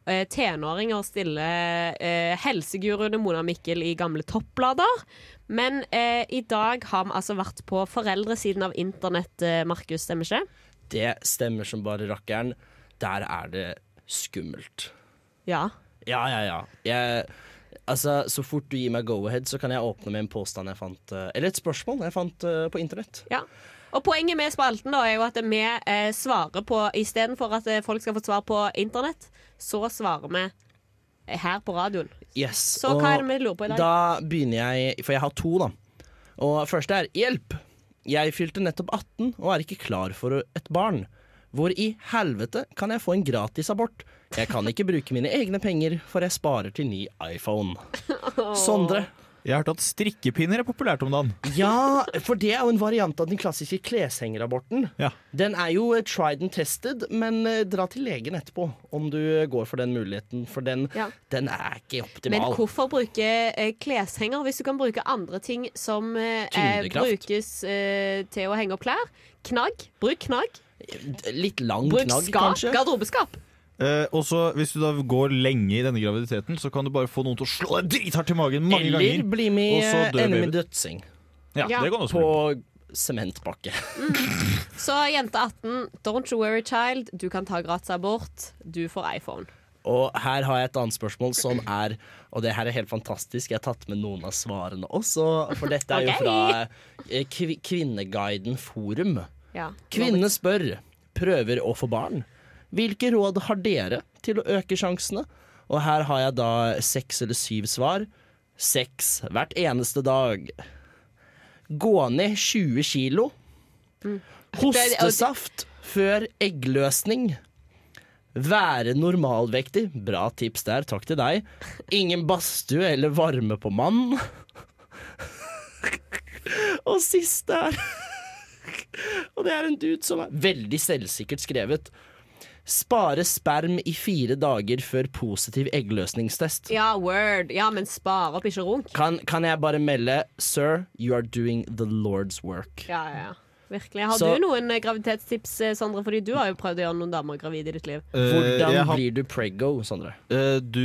Speaker 8: eh, tenåringer stiller eh, helseguruene Mona Mikkel i gamle topplader. Men eh, i dag har vi altså vært på foreldresiden av internett, eh, Markus, stemmer ikke det?
Speaker 3: Det stemmer som bare rakkeren. Der er det skummelt.
Speaker 8: Ja.
Speaker 3: Ja, ja, ja. Jeg, altså, så fort du gir meg go-ahead, så kan jeg åpne med en påstand jeg fant eh, Eller et spørsmål jeg fant eh, på internett.
Speaker 8: Ja. Og poenget med spalten da er jo at vi eh, svarer på Istedenfor at eh, folk skal få svar på internett, så svarer vi eh, her på radioen.
Speaker 3: Yes.
Speaker 8: Så hva er det vi lurer på i dag?
Speaker 3: Da begynner jeg, for jeg har to, da. Og første er hjelp. Jeg fylte nettopp 18 og er ikke klar for et barn. Hvor i helvete kan jeg få en gratis abort? Jeg kan ikke bruke mine egne penger, for jeg sparer til ny iPhone. Sondre,
Speaker 9: Jeg har hørt at strikkepinner er populært om dagen.
Speaker 3: Ja, for det er jo en variant av den klassiske kleshengeraborten. Den er jo eh, tried and tested, men eh, dra til legen etterpå om du eh, går for den muligheten, for den,
Speaker 8: Ja.
Speaker 3: den er ikke
Speaker 8: Men
Speaker 3: optimal.
Speaker 8: hvorfor bruke eh, kleshenger hvis du kan bruke andre ting som eh, eh,
Speaker 3: Tyngdekraft.
Speaker 8: brukes eh, til å henge opp klær? Knagg. Bruk knagg.
Speaker 3: Litt lang
Speaker 8: Bruk
Speaker 9: knagg,
Speaker 8: skap.
Speaker 9: kanskje?
Speaker 8: Garderobeskap.
Speaker 9: Eh, og så Hvis du da går lenge i denne graviditeten, så kan du bare få noen til å slå deg drithardt i magen mange
Speaker 3: Eller
Speaker 9: ganger.
Speaker 3: bli med Mm.
Speaker 9: og så
Speaker 3: i,
Speaker 9: dør
Speaker 3: eh, Enemy
Speaker 9: babyen.
Speaker 3: Dødsing.
Speaker 9: Ja,
Speaker 8: Ja.
Speaker 9: det kan også
Speaker 3: På sementpakke.
Speaker 8: Så jente 18, don't you worry child. Du kan ta gratis abort. Du får iPhone.
Speaker 3: Og her har jeg et annet spørsmål som er Og det her er helt fantastisk, jeg har tatt med noen av svarene også. For dette er jo
Speaker 8: Ok.
Speaker 3: fra eh, Kvi- Kvinneguiden forum.
Speaker 8: Ja.
Speaker 3: Kvinne spør, prøver å få barn. Hvilke råd har dere til å øke sjansene? Og her har jeg da seks eller syv svar. Seks hvert eneste dag. Gå ned 20 kilo. Hostesaft før eggløsning. Være normalvektig. Bra tips der, takk til deg. Ingen badstue eller varme på mann. Og siste her Og det er en dude som er veldig selvsikkert skrevet. Spare sperm i fire dager før positiv eggløsningstest.
Speaker 8: Ja, word. Ja, men spar opp, ikke runk.
Speaker 3: Kan, kan jeg bare melde Sir, you are doing the Lord's work.
Speaker 8: Ja, ja, ja. Virkelig. Har
Speaker 3: Så-
Speaker 8: du noen eh, graviditetstips, eh, Sondre? Fordi du har jo prøvd å gjøre noen damer gravide i ditt liv.
Speaker 9: Eh,
Speaker 3: Hvordan
Speaker 9: jeg har-
Speaker 3: blir du preggo, Sondre?
Speaker 9: Eh, du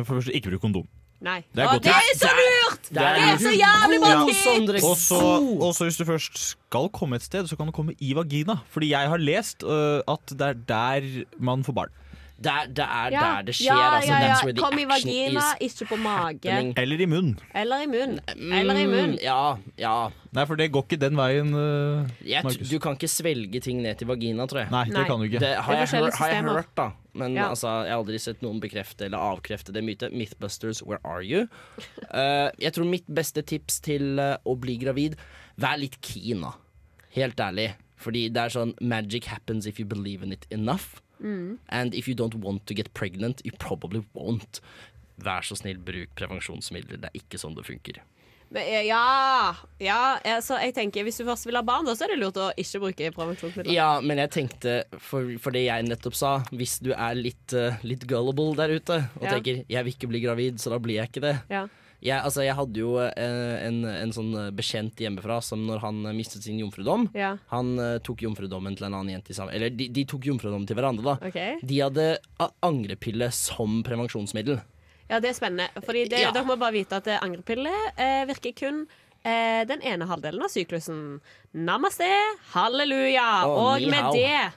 Speaker 9: For det første, ikke bruk kondom.
Speaker 8: Nei.
Speaker 9: Det er
Speaker 8: Å,
Speaker 9: godt
Speaker 8: det
Speaker 9: tips.
Speaker 8: er så lurt! Det er så jævlig
Speaker 9: Ja.
Speaker 8: vanskelig!
Speaker 9: Og så- og så hvis du først skal komme et sted, så kan du komme i vagina. Fordi jeg har lest øh, at det er der man får barn.
Speaker 3: Der, det er
Speaker 8: Ja.
Speaker 3: der det skjer,
Speaker 8: Ja,
Speaker 3: altså.
Speaker 8: ja, ja.
Speaker 3: That's where the
Speaker 8: Kom i
Speaker 3: action
Speaker 8: vagina,
Speaker 3: is.
Speaker 8: ikke på mage.
Speaker 9: Eller i munnen.
Speaker 8: Eller i munn.
Speaker 3: Mm.
Speaker 8: Eller i munn.
Speaker 3: Ja, ja.
Speaker 9: Nei, for det går ikke den veien, øh,
Speaker 3: Jeg,
Speaker 9: Markus.
Speaker 3: du kan ikke svelge ting ned til vagina, tror jeg.
Speaker 9: Nei, det Nei. kan du ikke.
Speaker 3: Det har
Speaker 9: Det er
Speaker 3: jeg, hør,
Speaker 9: forskjellige
Speaker 3: har jeg
Speaker 9: systemer.
Speaker 3: hørt, da. Men
Speaker 9: Ja.
Speaker 3: altså, jeg har aldri sett noen bekrefte eller avkrefte det mytet. Mythbusters, where are you? Eh, jeg tror mitt beste tips til eh, å bli gravid Vær litt keen, da. Helt ærlig. Fordi det er sånn Magic happens if you believe in it enough.
Speaker 2: Mm.
Speaker 3: And if you don't want to get pregnant, you probably won't. Vær så snill, bruk prevensjonsmidler. Det er ikke sånn det funker.
Speaker 8: Men, eh, Ja, ja altså, jeg tenker, Hvis du først vil ha barn, da, så er det lurt å ikke bruke prevensjonsmidler.
Speaker 3: Ja, men jeg tenkte, for, for det jeg nettopp sa, hvis du er litt, eh, litt gullible der ute og
Speaker 8: Ja.
Speaker 3: tenker 'jeg vil ikke bli gravid, så da blir jeg ikke det'.
Speaker 8: Ja.
Speaker 3: Jeg, altså, jeg hadde jo eh, en, en sånn eh, bekjent hjemmefra som når han eh, mistet sin jomfrudom
Speaker 8: Ja.
Speaker 3: Han eh, tok jomfrudommen til en annen jente i sammen Eller de, de tok jomfrudommen til hverandre, da.
Speaker 8: Ok.
Speaker 3: De hadde a- angrepille som prevensjonsmiddel.
Speaker 8: Ja, det er spennende. Fordi det,
Speaker 3: Ja.
Speaker 8: Dere må bare vite at eh, angrepille eh, virker kun eh, den ene halvdelen av syklusen. Namaste, halleluja.
Speaker 2: Å,
Speaker 8: Og
Speaker 2: ni
Speaker 8: med
Speaker 2: hao.
Speaker 8: det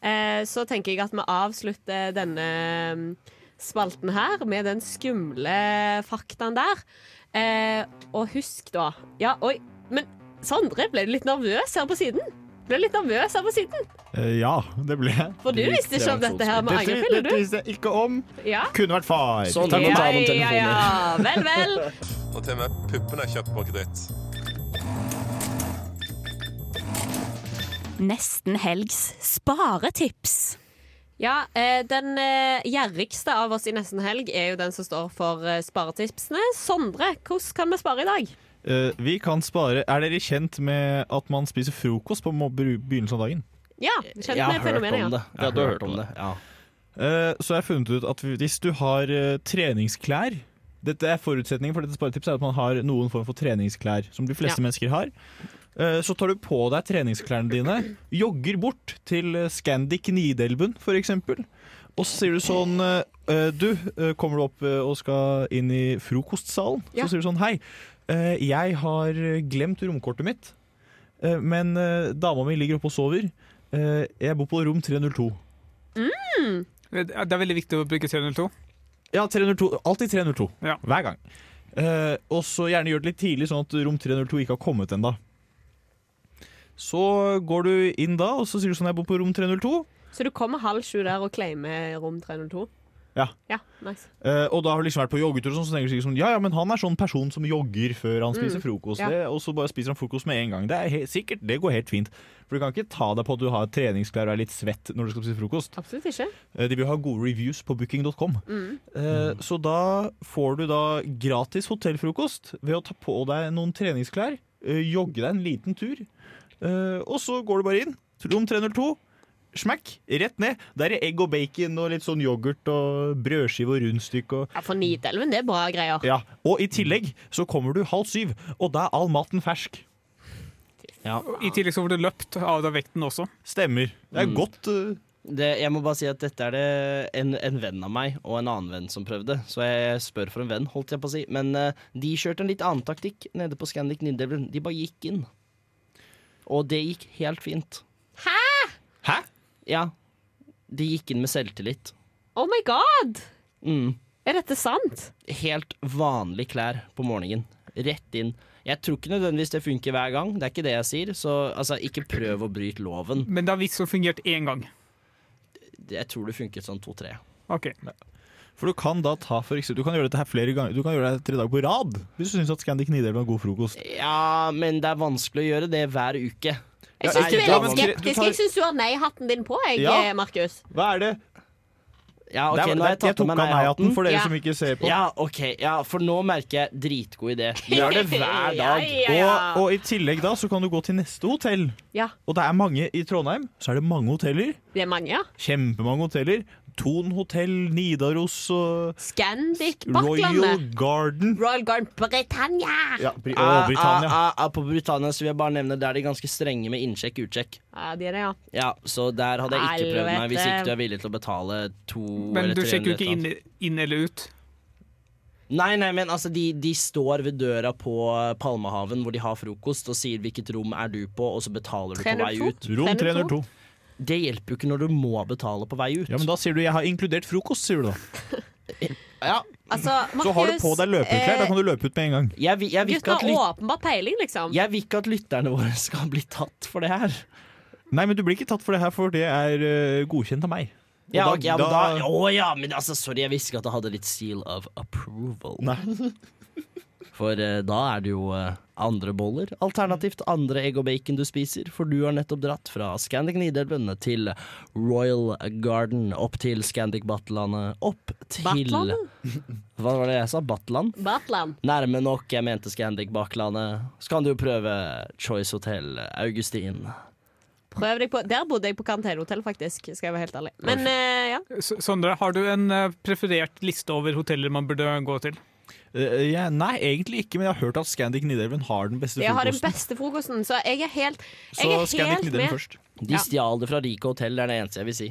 Speaker 8: eh, så tenker jeg at vi avslutter denne mm, spalten her med den skumle faktaen der. Eh, og husk, da Ja, oi. Men Sondre, ble du litt nervøs her på siden? Ble du litt nervøs her på siden?
Speaker 9: Eh, ja, det ble jeg.
Speaker 8: For du visste ikke om dette her med angrepille, du?
Speaker 9: Dette visste jeg ikke om.
Speaker 8: Ja.
Speaker 9: Kunne vært far.
Speaker 3: Sånn,
Speaker 9: Takk for
Speaker 3: ja,
Speaker 9: talen,
Speaker 3: ja,
Speaker 9: telefoner.
Speaker 8: ja. Vel, vel.
Speaker 5: Og til og med puppene er kjøpt på kreditt.
Speaker 19: Nesten helgs sparetips.
Speaker 8: Ja, eh, den eh, gjerrigste av oss i Nesten Helg er jo den som står for eh, sparetipsene. Sondre, hvordan kan vi spare i dag?
Speaker 9: Eh, vi kan spare Er dere kjent med at man spiser frokost på mo- bru- begynnelsen av dagen?
Speaker 8: Ja, kjent med fenomenet, ja.
Speaker 3: Ja, du har hørt om det.
Speaker 9: Eh, så jeg har funnet ut at hvis du har eh, treningsklær Dette er Forutsetningen for dette sparetipset er at man har noen form for treningsklær, som de fleste
Speaker 23: Ja.
Speaker 9: mennesker har. Eh, så tar du på deg treningsklærne dine, jogger bort til eh, Scandic Nidelven f.eks. Og så sier du sånn eh, Du, eh, kommer du opp eh, og skal inn i frokostsalen?
Speaker 23: Ja.
Speaker 9: Så sier du sånn Hei, eh, jeg har glemt romkortet mitt, eh, men eh, dama mi ligger oppe og sover. Eh, jeg bor på rom 302.
Speaker 10: Det det er veldig viktig å bruke 302.
Speaker 9: Ja, 302. Alltid 302.
Speaker 10: Ja.
Speaker 9: Hver gang. Eh, og så gjerne gjør det litt tidlig, sånn at rom 302 ikke har kommet ennå. Så går du inn da, og så sier du sånn Jeg bor på rom 302.
Speaker 8: Så du kommer halv sju der og claimer rom 302?
Speaker 9: Ja.
Speaker 8: Ja, nice.
Speaker 9: Eh, og da har du liksom vært på joggetur, og sånn, så tenker du sikkert sånn Ja ja, men han er sånn person som jogger før han spiser
Speaker 8: Mm,
Speaker 9: frokost,
Speaker 8: ja.
Speaker 9: det, og så bare spiser han frokost med en gang. Det er he sikkert, det går helt fint. For du kan ikke ta deg på at du har treningsklær og er litt svett når du skal spise frokost.
Speaker 8: Absolutt ikke.
Speaker 9: Eh, De vil ha gode reviews på booking.com.
Speaker 8: Mm.
Speaker 9: Eh, Så da får du da gratis hotellfrokost ved å ta på deg noen treningsklær, eh, jogge deg en liten tur, eh, og så går du bare inn. Rom 302. Smekk! Rett ned. Der er egg og bacon og litt sånn yoghurt og brødskive og rundstykke og
Speaker 8: Ja, For Nidelven, det er bra greier.
Speaker 9: ja, Og i tillegg så kommer du halv syv, og da er all maten fersk.
Speaker 10: I tillegg så får du løpt av deg vekten også.
Speaker 9: Stemmer. Det er
Speaker 3: Mm.
Speaker 9: godt. eh,
Speaker 3: Det, jeg må bare si at dette er det en, en venn av meg og en annen venn som prøvde, så jeg spør for en venn, holdt jeg på å si. Men eh, de kjørte en litt annen taktikk nede på Scandic Nidelven. De bare gikk inn. Og det gikk helt fint.
Speaker 9: Hæ?
Speaker 3: Ja. De gikk inn med selvtillit.
Speaker 8: Oh my god!
Speaker 3: Mm.
Speaker 8: Er dette sant?
Speaker 3: Helt vanlige klær på morgenen. Rett inn. Jeg tror ikke nødvendigvis det funker hver gang, det er ikke det jeg sier. Så altså, ikke prøv å bryte loven.
Speaker 10: Men det har visst så fungert én gang.
Speaker 3: Jeg tror det funket sånn to-tre.
Speaker 10: Ok.
Speaker 9: For du kan da ta for eksempel, Du kan gjøre dette her flere ganger Du kan gjøre det tre dager på rad hvis du syns at Scandic Nidelv er god frokost.
Speaker 3: Ja, men det er vanskelig å gjøre det hver uke.
Speaker 8: Jeg
Speaker 9: Ja,
Speaker 8: syns du
Speaker 9: ikke
Speaker 8: er
Speaker 9: da,
Speaker 8: litt
Speaker 9: men-
Speaker 8: skeptisk.
Speaker 9: du tar-
Speaker 8: Jeg syns du har nei-hatten din på, jeg,
Speaker 9: Ja.
Speaker 8: eh, Markus.
Speaker 9: Hva er det?
Speaker 3: Ja, ok,
Speaker 9: Der var-
Speaker 3: nå har jeg
Speaker 9: der- jeg
Speaker 3: tatt av
Speaker 9: tok
Speaker 3: meg
Speaker 9: av nei-hatten
Speaker 3: nei-hatten.
Speaker 9: for dere Ja. som ikke ser på.
Speaker 3: Ja, ok, ja, for nå merker jeg dritgod idé. Gjør det hver dag.
Speaker 8: Ja, ja, ja.
Speaker 9: Og, og i tillegg da så kan du gå til neste hotell.
Speaker 8: Ja.
Speaker 9: Og det er mange i Trondheim. Så er det mange hoteller.
Speaker 8: Det er mange, ja.
Speaker 9: Kjempemange hoteller. Thon hotell, Nidaros og
Speaker 8: Scandic,
Speaker 9: Royal
Speaker 8: Bakklandet,
Speaker 9: Garden.
Speaker 8: Royal Garden, Britannia!
Speaker 9: Ja, Bri og Britannia.
Speaker 3: Ah, ah, ah, på Britannia så vil jeg bare nevne der er de ganske strenge med innsjekk utsjekk.
Speaker 8: Ja, de er det, ja.
Speaker 3: Ja, Så der hadde jeg ikke prøvd meg, hvis
Speaker 8: Helvete.
Speaker 3: ikke du er villig til å betale to
Speaker 10: Men
Speaker 3: eller
Speaker 10: du
Speaker 3: tre
Speaker 10: sjekker
Speaker 3: eller
Speaker 10: jo
Speaker 3: et
Speaker 10: ikke
Speaker 3: eller
Speaker 10: inn, inn eller ut.
Speaker 3: Nei, nei, men altså, de, de står ved døra på Palmehaven hvor de har frokost, og sier 'hvilket rom er du på', og så betaler du på vei ut.
Speaker 9: Rom 302.
Speaker 3: Det hjelper jo ikke når du må betale på vei ut.
Speaker 9: Ja, men da sier du 'jeg har inkludert frokost', sier du da.
Speaker 3: Ja.
Speaker 8: Altså, Markus, eh.
Speaker 9: Så har du på deg løpeklær, da kan du løpe ut med en gang.
Speaker 3: Jeg, vil- jeg, vil
Speaker 8: Gutten
Speaker 3: ikke at
Speaker 8: har
Speaker 3: lyt-
Speaker 8: åpenbar peiling, liksom.
Speaker 3: jeg vil ikke at lytterne våre skal bli tatt for det her.
Speaker 9: Nei, men du blir ikke tatt for det her, for det er eh, godkjent av meg. Og
Speaker 3: Ja,
Speaker 9: da-
Speaker 3: ok, ja, men
Speaker 9: da-
Speaker 3: da, å ja, men altså, sorry, jeg visste ikke at det hadde litt seal of approval. For eh, da er det jo eh, andre boller, alternativt andre egg og bacon du spiser, for du har nettopp dratt fra Scandic Nidelven til Royal Garden, opp til Scandic Battlandet, opp til
Speaker 8: Battlandet?
Speaker 3: Hva var det jeg sa? Battland?
Speaker 8: Batland.
Speaker 3: Nærme nok, jeg mente Scandic Baklandet. Så kan du jo prøve Choice Hotel Augustin.
Speaker 8: Prøv deg på Der bodde jeg på karantenehotell, faktisk, skal jeg være helt ærlig. Men eh, ja.
Speaker 10: S- Sondre, har du en eh, preferert liste over hoteller man burde gå til?
Speaker 9: Eh, jeg- nei, egentlig ikke, men jeg har hørt at Scandic Nidelven har den beste
Speaker 8: Jeg har den
Speaker 9: frokosten.
Speaker 8: beste frokosten, så jeg er helt
Speaker 9: Så
Speaker 8: jeg er
Speaker 9: Scandic
Speaker 8: helt
Speaker 9: Nidelven
Speaker 8: med.
Speaker 9: først.
Speaker 3: De stjal det fra Rico Hotel, det er det eneste jeg vil si.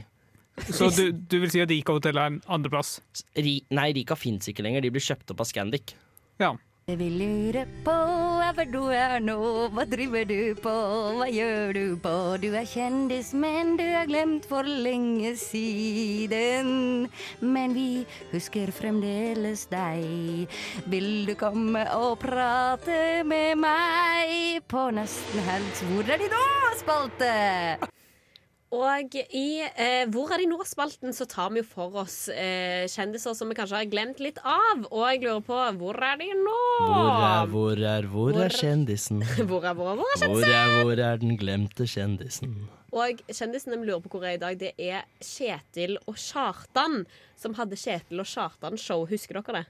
Speaker 10: Så du, du vil si at Rika hotell er en andreplass?
Speaker 3: Ri nei, Rika fins ikke lenger, de blir kjøpt opp av Scandic.
Speaker 2: Jeg vil lure på hvor du er nå, hva driver du på, hva gjør du på? Du er kjendis, men du er glemt for lenge siden. Men vi husker fremdeles deg. Vil du komme og prate med meg på nesten helg? Hvor er de nå, spalte?
Speaker 8: Og i eh, Hvor er de nå-spalten så tar vi jo for oss eh, kjendiser som vi kanskje har glemt litt av. Og jeg lurer på hvor er de nå?
Speaker 3: Hvor er, hvor er, hvor
Speaker 8: Ah. Hvor-
Speaker 3: er kjendisen?
Speaker 8: Hvor er, hvor er, hvor er
Speaker 3: Hvor
Speaker 8: kjendisen?
Speaker 3: er, hvor er den glemte kjendisen?
Speaker 8: Og kjendisen de lurer på hvor er i dag, det er Kjetil og Kjartan. Som hadde Kjetil og Kjartan-show, husker dere det?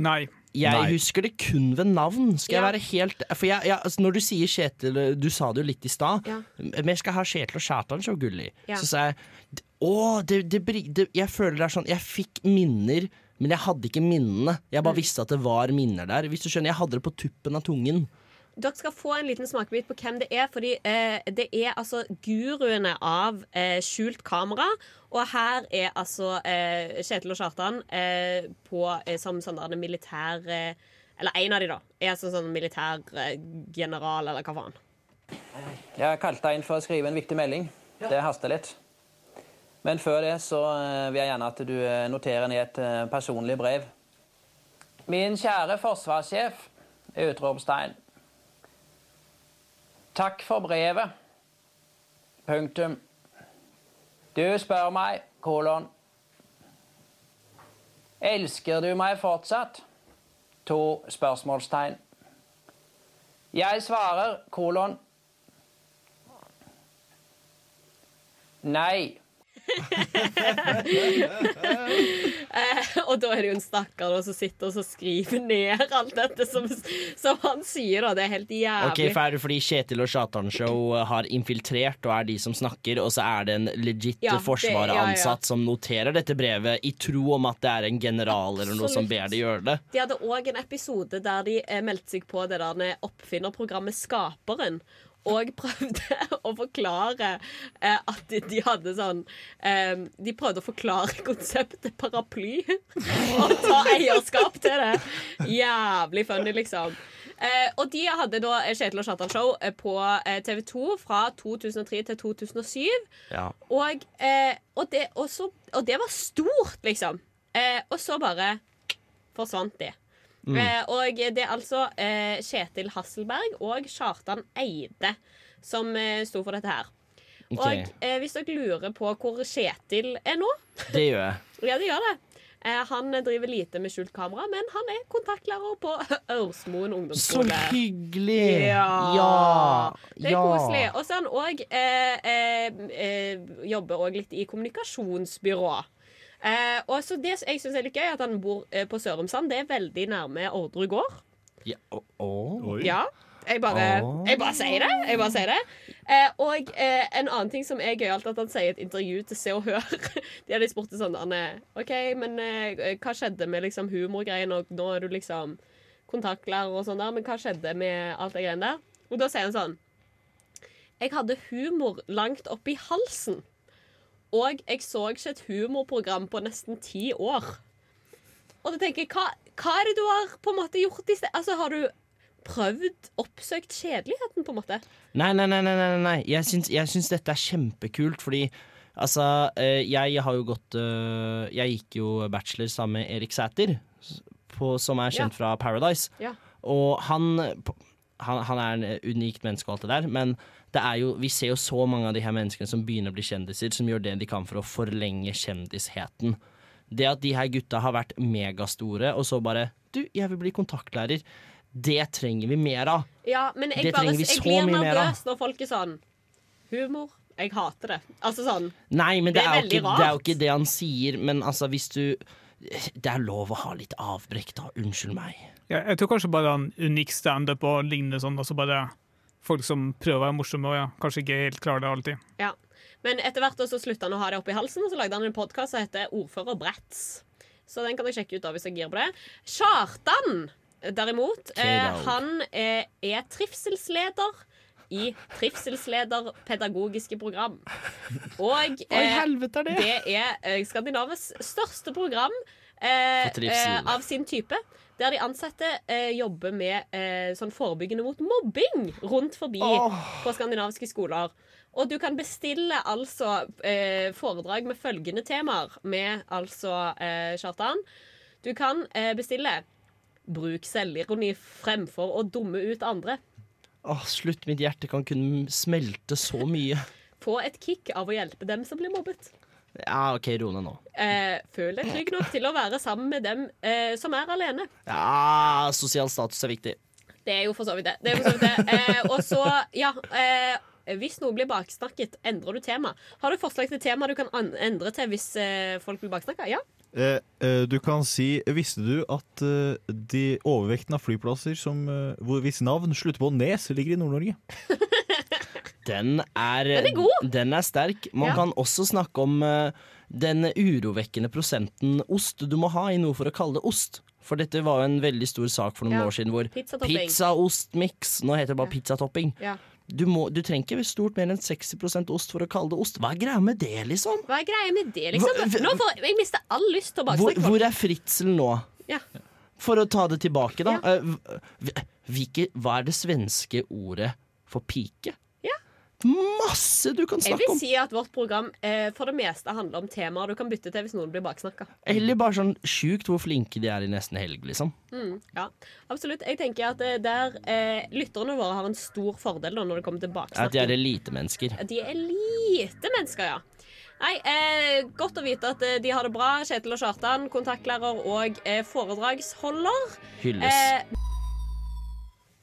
Speaker 10: Nei.
Speaker 3: Jeg
Speaker 10: Nei.
Speaker 3: husker det kun ved navn. Skal jeg
Speaker 8: Ja.
Speaker 3: være helt For jeg, jeg, altså når du sier Kjetil eh, Du sa det jo litt i stad.
Speaker 8: Ja.
Speaker 3: Men jeg skal ha Kjetil og Kjartan så gullig.
Speaker 8: Ja.
Speaker 3: Så sa jeg Å, det, det, bri- det Jeg føler det er sånn Jeg fikk minner, men jeg hadde ikke minnene. Jeg
Speaker 8: Mm.
Speaker 3: bare visste at det var minner der. Hvis du skjønner, Jeg hadde det på tuppen av tungen.
Speaker 8: Dere skal få en liten smakebit på hvem det er, fordi eh, det er altså guruene av eh, skjult kamera. Og her er altså eh, Kjetil og Kjartan eh, på, eh, som sånn der militær eh, Eller en av de, da. Er sånn, sånn militær eh, general, eller hva faen.
Speaker 6: Jeg kalte deg inn for å skrive en viktig melding. Det haster litt. Men før det så eh, vil jeg gjerne at du eh, noterer ned et eh, personlig brev. Min kjære forsvarssjef, utropstegn. Takk for brevet. Punktum. Du spør meg, kolon. Elsker du meg fortsatt? To spørsmålstegn. Jeg svarer kolon. Nei.
Speaker 8: Eh, og da er det jo en stakkar da, som sitter og så skriver ned alt dette som, som han sier. Da. Det er helt jævlig.
Speaker 3: Ok, for er det fordi Kjetil og Sjatan-show har infiltrert og er de som snakker, og så er det en legit
Speaker 8: Ja, det- ja,
Speaker 3: forsvareransatt
Speaker 8: ja.
Speaker 3: som noterer dette brevet i tro om at det er en general eller noe som
Speaker 8: Absolutt.
Speaker 3: ber de gjøre det?
Speaker 8: De hadde òg en episode der de eh, meldte seg på det der oppfinnerprogrammet Skaperen. Og prøvde å forklare eh, at de, de hadde sånn eh, De prøvde å forklare konseptet paraply. Og ta eierskap til det. Jævlig funny, liksom. Eh, og de hadde da eh, Kjetil og Kjartan-show eh, på eh, TV2 fra 2003 til 2007.
Speaker 3: Ja.
Speaker 8: Og, eh, og, det, og, så, og det var stort, liksom. Eh, og så bare forsvant de.
Speaker 24: Mm.
Speaker 8: Eh, og det er altså eh, Kjetil Hasselberg og Kjartan Eide som eh, sto for dette her.
Speaker 3: Ok.
Speaker 8: Og eh, hvis dere lurer på hvor Kjetil er nå
Speaker 3: Det gjør jeg.
Speaker 8: Ja, det gjør det. Eh, han driver lite med skjult kamera, men han er kontaktlærer på Ørsmoen ungdomsskole.
Speaker 3: Så hyggelig!
Speaker 8: Ja.
Speaker 3: Ja.
Speaker 8: Det er
Speaker 3: Ja.
Speaker 8: koselig. Og så er han òg eh, eh, eh, jobber òg litt i kommunikasjonsbyrå. Eh, og så Det jeg syns er litt gøy, er at han bor eh, på Sørumsand. Det er veldig nærme Ordre gård.
Speaker 3: Ja, å, å.
Speaker 8: Ja. Jeg bare,
Speaker 3: Åh.
Speaker 8: jeg bare sier det. Jeg bare sier det. Eh, og eh, en annen ting som er gøyalt, at han sier i et intervju til Se og Hør De hadde spurt sånn han er, OK, men eh, hva skjedde med liksom humorgreien, og nå er du liksom kontaktlærer og sånn der, men hva skjedde med alt det greiene der? Og da sier han sånn Jeg hadde humor langt oppi halsen. Og jeg så ikke et humorprogram på nesten ti år. Og da tenker jeg, hva, hva er det du har på en måte gjort i sted? Altså, har du prøvd, oppsøkt kjedeligheten, på en måte?
Speaker 3: Nei, nei, nei, nei, nei, nei. nei. Jeg, syns, jeg syns dette er kjempekult, fordi altså eh, Jeg har jo gått eh, Jeg gikk jo bachelor sammen med Erik Sæter, s- på, som er kjent fra Paradise.
Speaker 8: Ja.
Speaker 3: Og han, han, han er en eh, unikt menneske og alt det der, men det er jo, vi ser jo så mange av de her menneskene som begynner å bli kjendiser, som gjør det de kan for å forlenge kjendisheten. Det at de her gutta har vært megastore, og så bare Du, jeg vil bli kontaktlærer. Det trenger vi mer av.
Speaker 8: Ja, men jeg,
Speaker 3: Det
Speaker 8: bare,
Speaker 3: trenger vi
Speaker 8: jeg
Speaker 3: så
Speaker 8: blir
Speaker 3: mye mer av.
Speaker 8: nervøs når folk er sånn Humor. Jeg hater det. Altså sånn.
Speaker 3: Nei, men det,
Speaker 8: Det er
Speaker 3: er, jo
Speaker 8: veldig
Speaker 3: ikke, det er jo
Speaker 8: rart.
Speaker 3: ikke det han sier. Men altså, hvis du Det er lov å ha litt avbrekk, da. Unnskyld meg.
Speaker 10: Jeg, jeg tror kanskje bare han unik standup og lignende sånn, altså bare folk som prøver å være morsomme og ja, kanskje ikke helt klarer det alltid.
Speaker 8: Ja. Men etter hvert så slutta han å ha det oppi halsen, og så lagde han en podkast som heter Ordfører Bratz. Så den kan jeg sjekke ut av hvis jeg gir på det. Kjartan, derimot, eh,
Speaker 24: K-Dog.
Speaker 8: han eh, er trivselsleder i Trivselsleder pedagogiske program. Og eh,
Speaker 24: Hva i helvete er det?
Speaker 8: det er eh, Skandinavias største program eh,
Speaker 24: For trivsel.
Speaker 8: eh, av sin type. Der de ansatte eh, jobber med eh, sånn forebyggende mot mobbing rundt forbi på skandinaviske skoler. Og du kan bestille altså eh, foredrag med følgende temaer med altså eh, Kjartan. Du kan eh, bestille Bruk selvironi fremfor å dumme ut andre.
Speaker 3: Åh, slutt, mitt hjerte kan kunne smelte så mye.
Speaker 8: Få et kick av å hjelpe dem som blir mobbet.
Speaker 3: Ja, OK, ro ned nå.
Speaker 8: Eh, føl deg trygg nok til å være sammen med dem eh, som er alene.
Speaker 3: Ja, sosial status er viktig.
Speaker 8: Det er jo for så vidt det. det, er for så vidt det. Eh, og så, ja eh, Hvis noe blir baksnakket, endrer du tema. Har du forslag til tema du kan an endre til hvis eh, folk blir baksnakka? Ja.
Speaker 9: Eh, eh, du kan si Visste du at eh, de overvekten av flyplasser som, eh, hvor hvis navn slutter på Nes, ligger i Nord-Norge?
Speaker 3: Den er,
Speaker 8: Den er god.
Speaker 3: den er sterk. Man
Speaker 8: Ja.
Speaker 3: kan også snakke om eh, den urovekkende prosenten ost du må ha i noe for å kalle det ost. For dette var jo en veldig stor sak for noen
Speaker 8: Ja.
Speaker 3: år siden hvor
Speaker 8: Pizzatopping.
Speaker 3: pizzaostmiks Nå heter det bare pizzatopping.
Speaker 8: Ja.
Speaker 3: Du, må, du trenger ikke stort mer enn 60 ost for å kalle det ost. Hva er greia med det, liksom?
Speaker 8: Hva er greia med det, liksom?
Speaker 3: Hva-
Speaker 8: Nå får, jeg mister all lyst til å
Speaker 3: Hvor,
Speaker 8: baksnakke
Speaker 3: hvor
Speaker 8: folk.
Speaker 3: er fritsel nå?
Speaker 8: Ja.
Speaker 3: For å ta det tilbake, da. Eh, hv- Hvilke, hva er det svenske ordet for pike?
Speaker 8: Ja.
Speaker 3: Masse du kan
Speaker 8: Jeg
Speaker 3: snakke
Speaker 8: vil
Speaker 3: om!
Speaker 8: si at vårt program eh, for det meste handler om temaer du kan bytte til hvis noen blir baksnakka.
Speaker 3: Eller bare sånn sjukt hvor flinke de er i nesten helg, liksom.
Speaker 8: Mm, ja, absolutt. Jeg tenker at eh, der eh, lytterne våre har en stor fordel da, når det kommer til
Speaker 3: At de er
Speaker 8: baksnakking.
Speaker 3: elitemennesker.
Speaker 8: At de er lite mennesker, ja. Nei, eh, Godt å vite at eh, de har det bra. Kjetil og Kjartan, kontaktlærer og eh, foredragsholder.
Speaker 25: Hylles.
Speaker 8: Eh,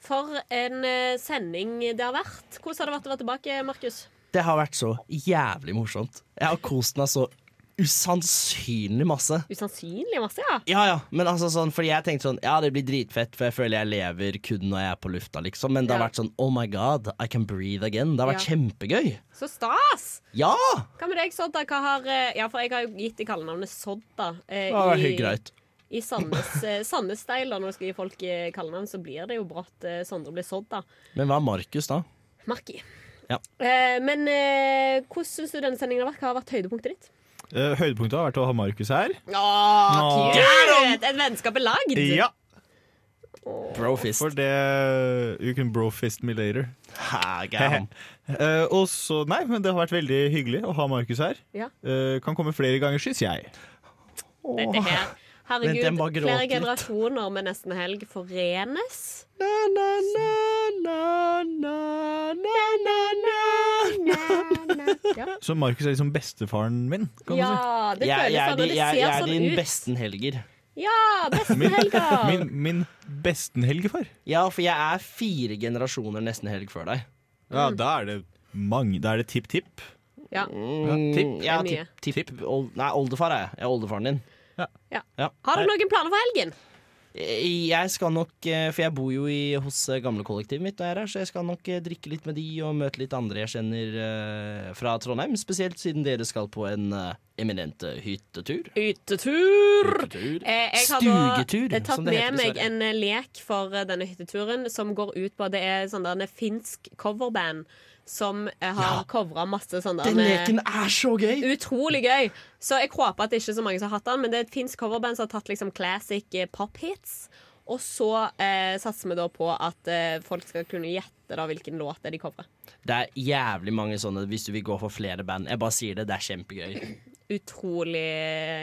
Speaker 8: for en eh, sending det har vært. Hvordan har det vært å være tilbake, Markus?
Speaker 3: Det har vært så jævlig morsomt. Jeg har kost meg så usannsynlig masse.
Speaker 8: Usannsynlig masse, ja.
Speaker 3: Ja, ja, men altså sånn, fordi jeg tenkte sånn Ja, det blir dritfett, for jeg føler jeg lever kun når jeg er på lufta, liksom. Men det har
Speaker 8: Ja.
Speaker 3: vært sånn Oh my god, I can breathe again. Det har vært
Speaker 8: Ja.
Speaker 3: kjempegøy.
Speaker 8: Så stas!
Speaker 3: Ja!
Speaker 8: Hva med deg, Sodda? Hva har, eh, ja, for jeg har jo gitt deg kallenavnet Sodda. eh,
Speaker 3: Det har vært
Speaker 8: i-
Speaker 3: helt greit.
Speaker 8: I Sandnes, eh, Sandnes-style, da, når du skal gi folk eh, kallenavn, så blir det jo brått eh, Sondre blir Sodda.
Speaker 3: Men hva er Markus, da?
Speaker 8: Marki.
Speaker 3: Ja.
Speaker 8: Eh, men eh, hvordan syns du denne sendingen har vært? Hva har vært høydepunktet ditt?
Speaker 9: Eh, høydepunktet har vært å ha Markus her.
Speaker 8: Åh,
Speaker 9: Åh.
Speaker 8: cute! Et vennskap er lagd.
Speaker 9: Ja.
Speaker 3: Brofist.
Speaker 9: For det You can brofist me later.
Speaker 3: Ha, gæren.
Speaker 9: Eh, og så Nei, men det har vært veldig hyggelig å ha Markus her.
Speaker 8: Ja.
Speaker 9: Eh, kan komme flere ganger, syns jeg.
Speaker 8: Dette her.
Speaker 9: Men den bare
Speaker 8: Herregud,
Speaker 9: gråt
Speaker 8: flere
Speaker 9: litt.
Speaker 8: generasjoner med nesten helg forenes.
Speaker 9: Så Markus er liksom bestefaren min, kan
Speaker 8: Ja,
Speaker 9: du
Speaker 8: det
Speaker 9: si.
Speaker 8: føles sånn, og det ser sånn ut.
Speaker 3: bestenhelger.
Speaker 8: Ja, besten
Speaker 9: Min,
Speaker 8: helga!
Speaker 9: min, min bestenhelgefar.
Speaker 3: Ja, for jeg er fire generasjoner nesten helg før deg.
Speaker 9: Ja, da er det mange. Da er det tipp-tipp.
Speaker 8: Ja.
Speaker 3: Mm,
Speaker 9: tipp.
Speaker 3: ja,
Speaker 8: Det er
Speaker 3: tipp, tipp, old, nei, oldefar er jeg. Jeg er oldefaren din.
Speaker 8: Ja.
Speaker 3: Ja.
Speaker 8: Har du noen planer for helgen?
Speaker 3: Jeg skal nok, eh, for jeg bor jo i, hos eh, gamlekollektivet mitt, når jeg er her, så jeg skal nok eh, drikke litt med de og møte litt andre jeg kjenner eh, fra Trondheim. Spesielt siden dere skal på en eh, eminent eh, hyttetur.
Speaker 8: Hyttetur!
Speaker 3: Hyttetur.
Speaker 8: Eh, jeg har
Speaker 3: Stugetur,
Speaker 8: da eh, tatt
Speaker 3: som det
Speaker 8: med
Speaker 3: heter i
Speaker 8: meg
Speaker 3: Sverige.
Speaker 8: en eh, lek for eh, denne hytteturen som går ut på Det er sånn der en finsk coverband som eh, har
Speaker 3: Ja.
Speaker 8: covra masse sånn der
Speaker 3: Den leken er så gøy!
Speaker 8: Utrolig gøy. Så jeg håper at det ikke er så mange som har hatt den, men det er et finsk coverband som har tatt liksom classic eh, pop-hits. Og så eh, satser vi da på at eh, folk skal kunne gjette da hvilken låt det er de covrer.
Speaker 3: Det er jævlig mange sånne hvis du vil gå for flere band. Jeg bare sier det, det er kjempegøy.
Speaker 8: Utrolig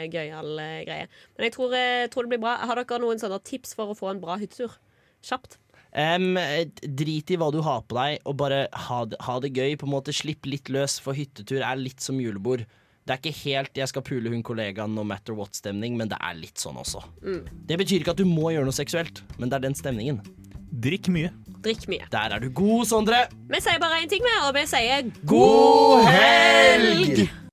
Speaker 8: gøyal eh, greie. Men jeg tror, eh, tror det blir bra. Har dere noen sånne tips for å få en bra hyttetur? Kjapt.
Speaker 3: Em, drit i hva du har på deg, og bare ha det, ha det gøy. På en måte Slipp litt løs, for hyttetur er litt som julebord. Det er ikke helt 'jeg skal pule hun kollegaen no matter what'-stemning, men det er litt sånn også.
Speaker 8: Mm.
Speaker 3: Det betyr ikke at du må gjøre noe seksuelt, men det er den stemningen.
Speaker 9: Drikk mye.
Speaker 8: Drikk mye.
Speaker 3: Der er du god, Sondre.
Speaker 8: Vi sier bare én ting mer, og vi sier
Speaker 3: God helg!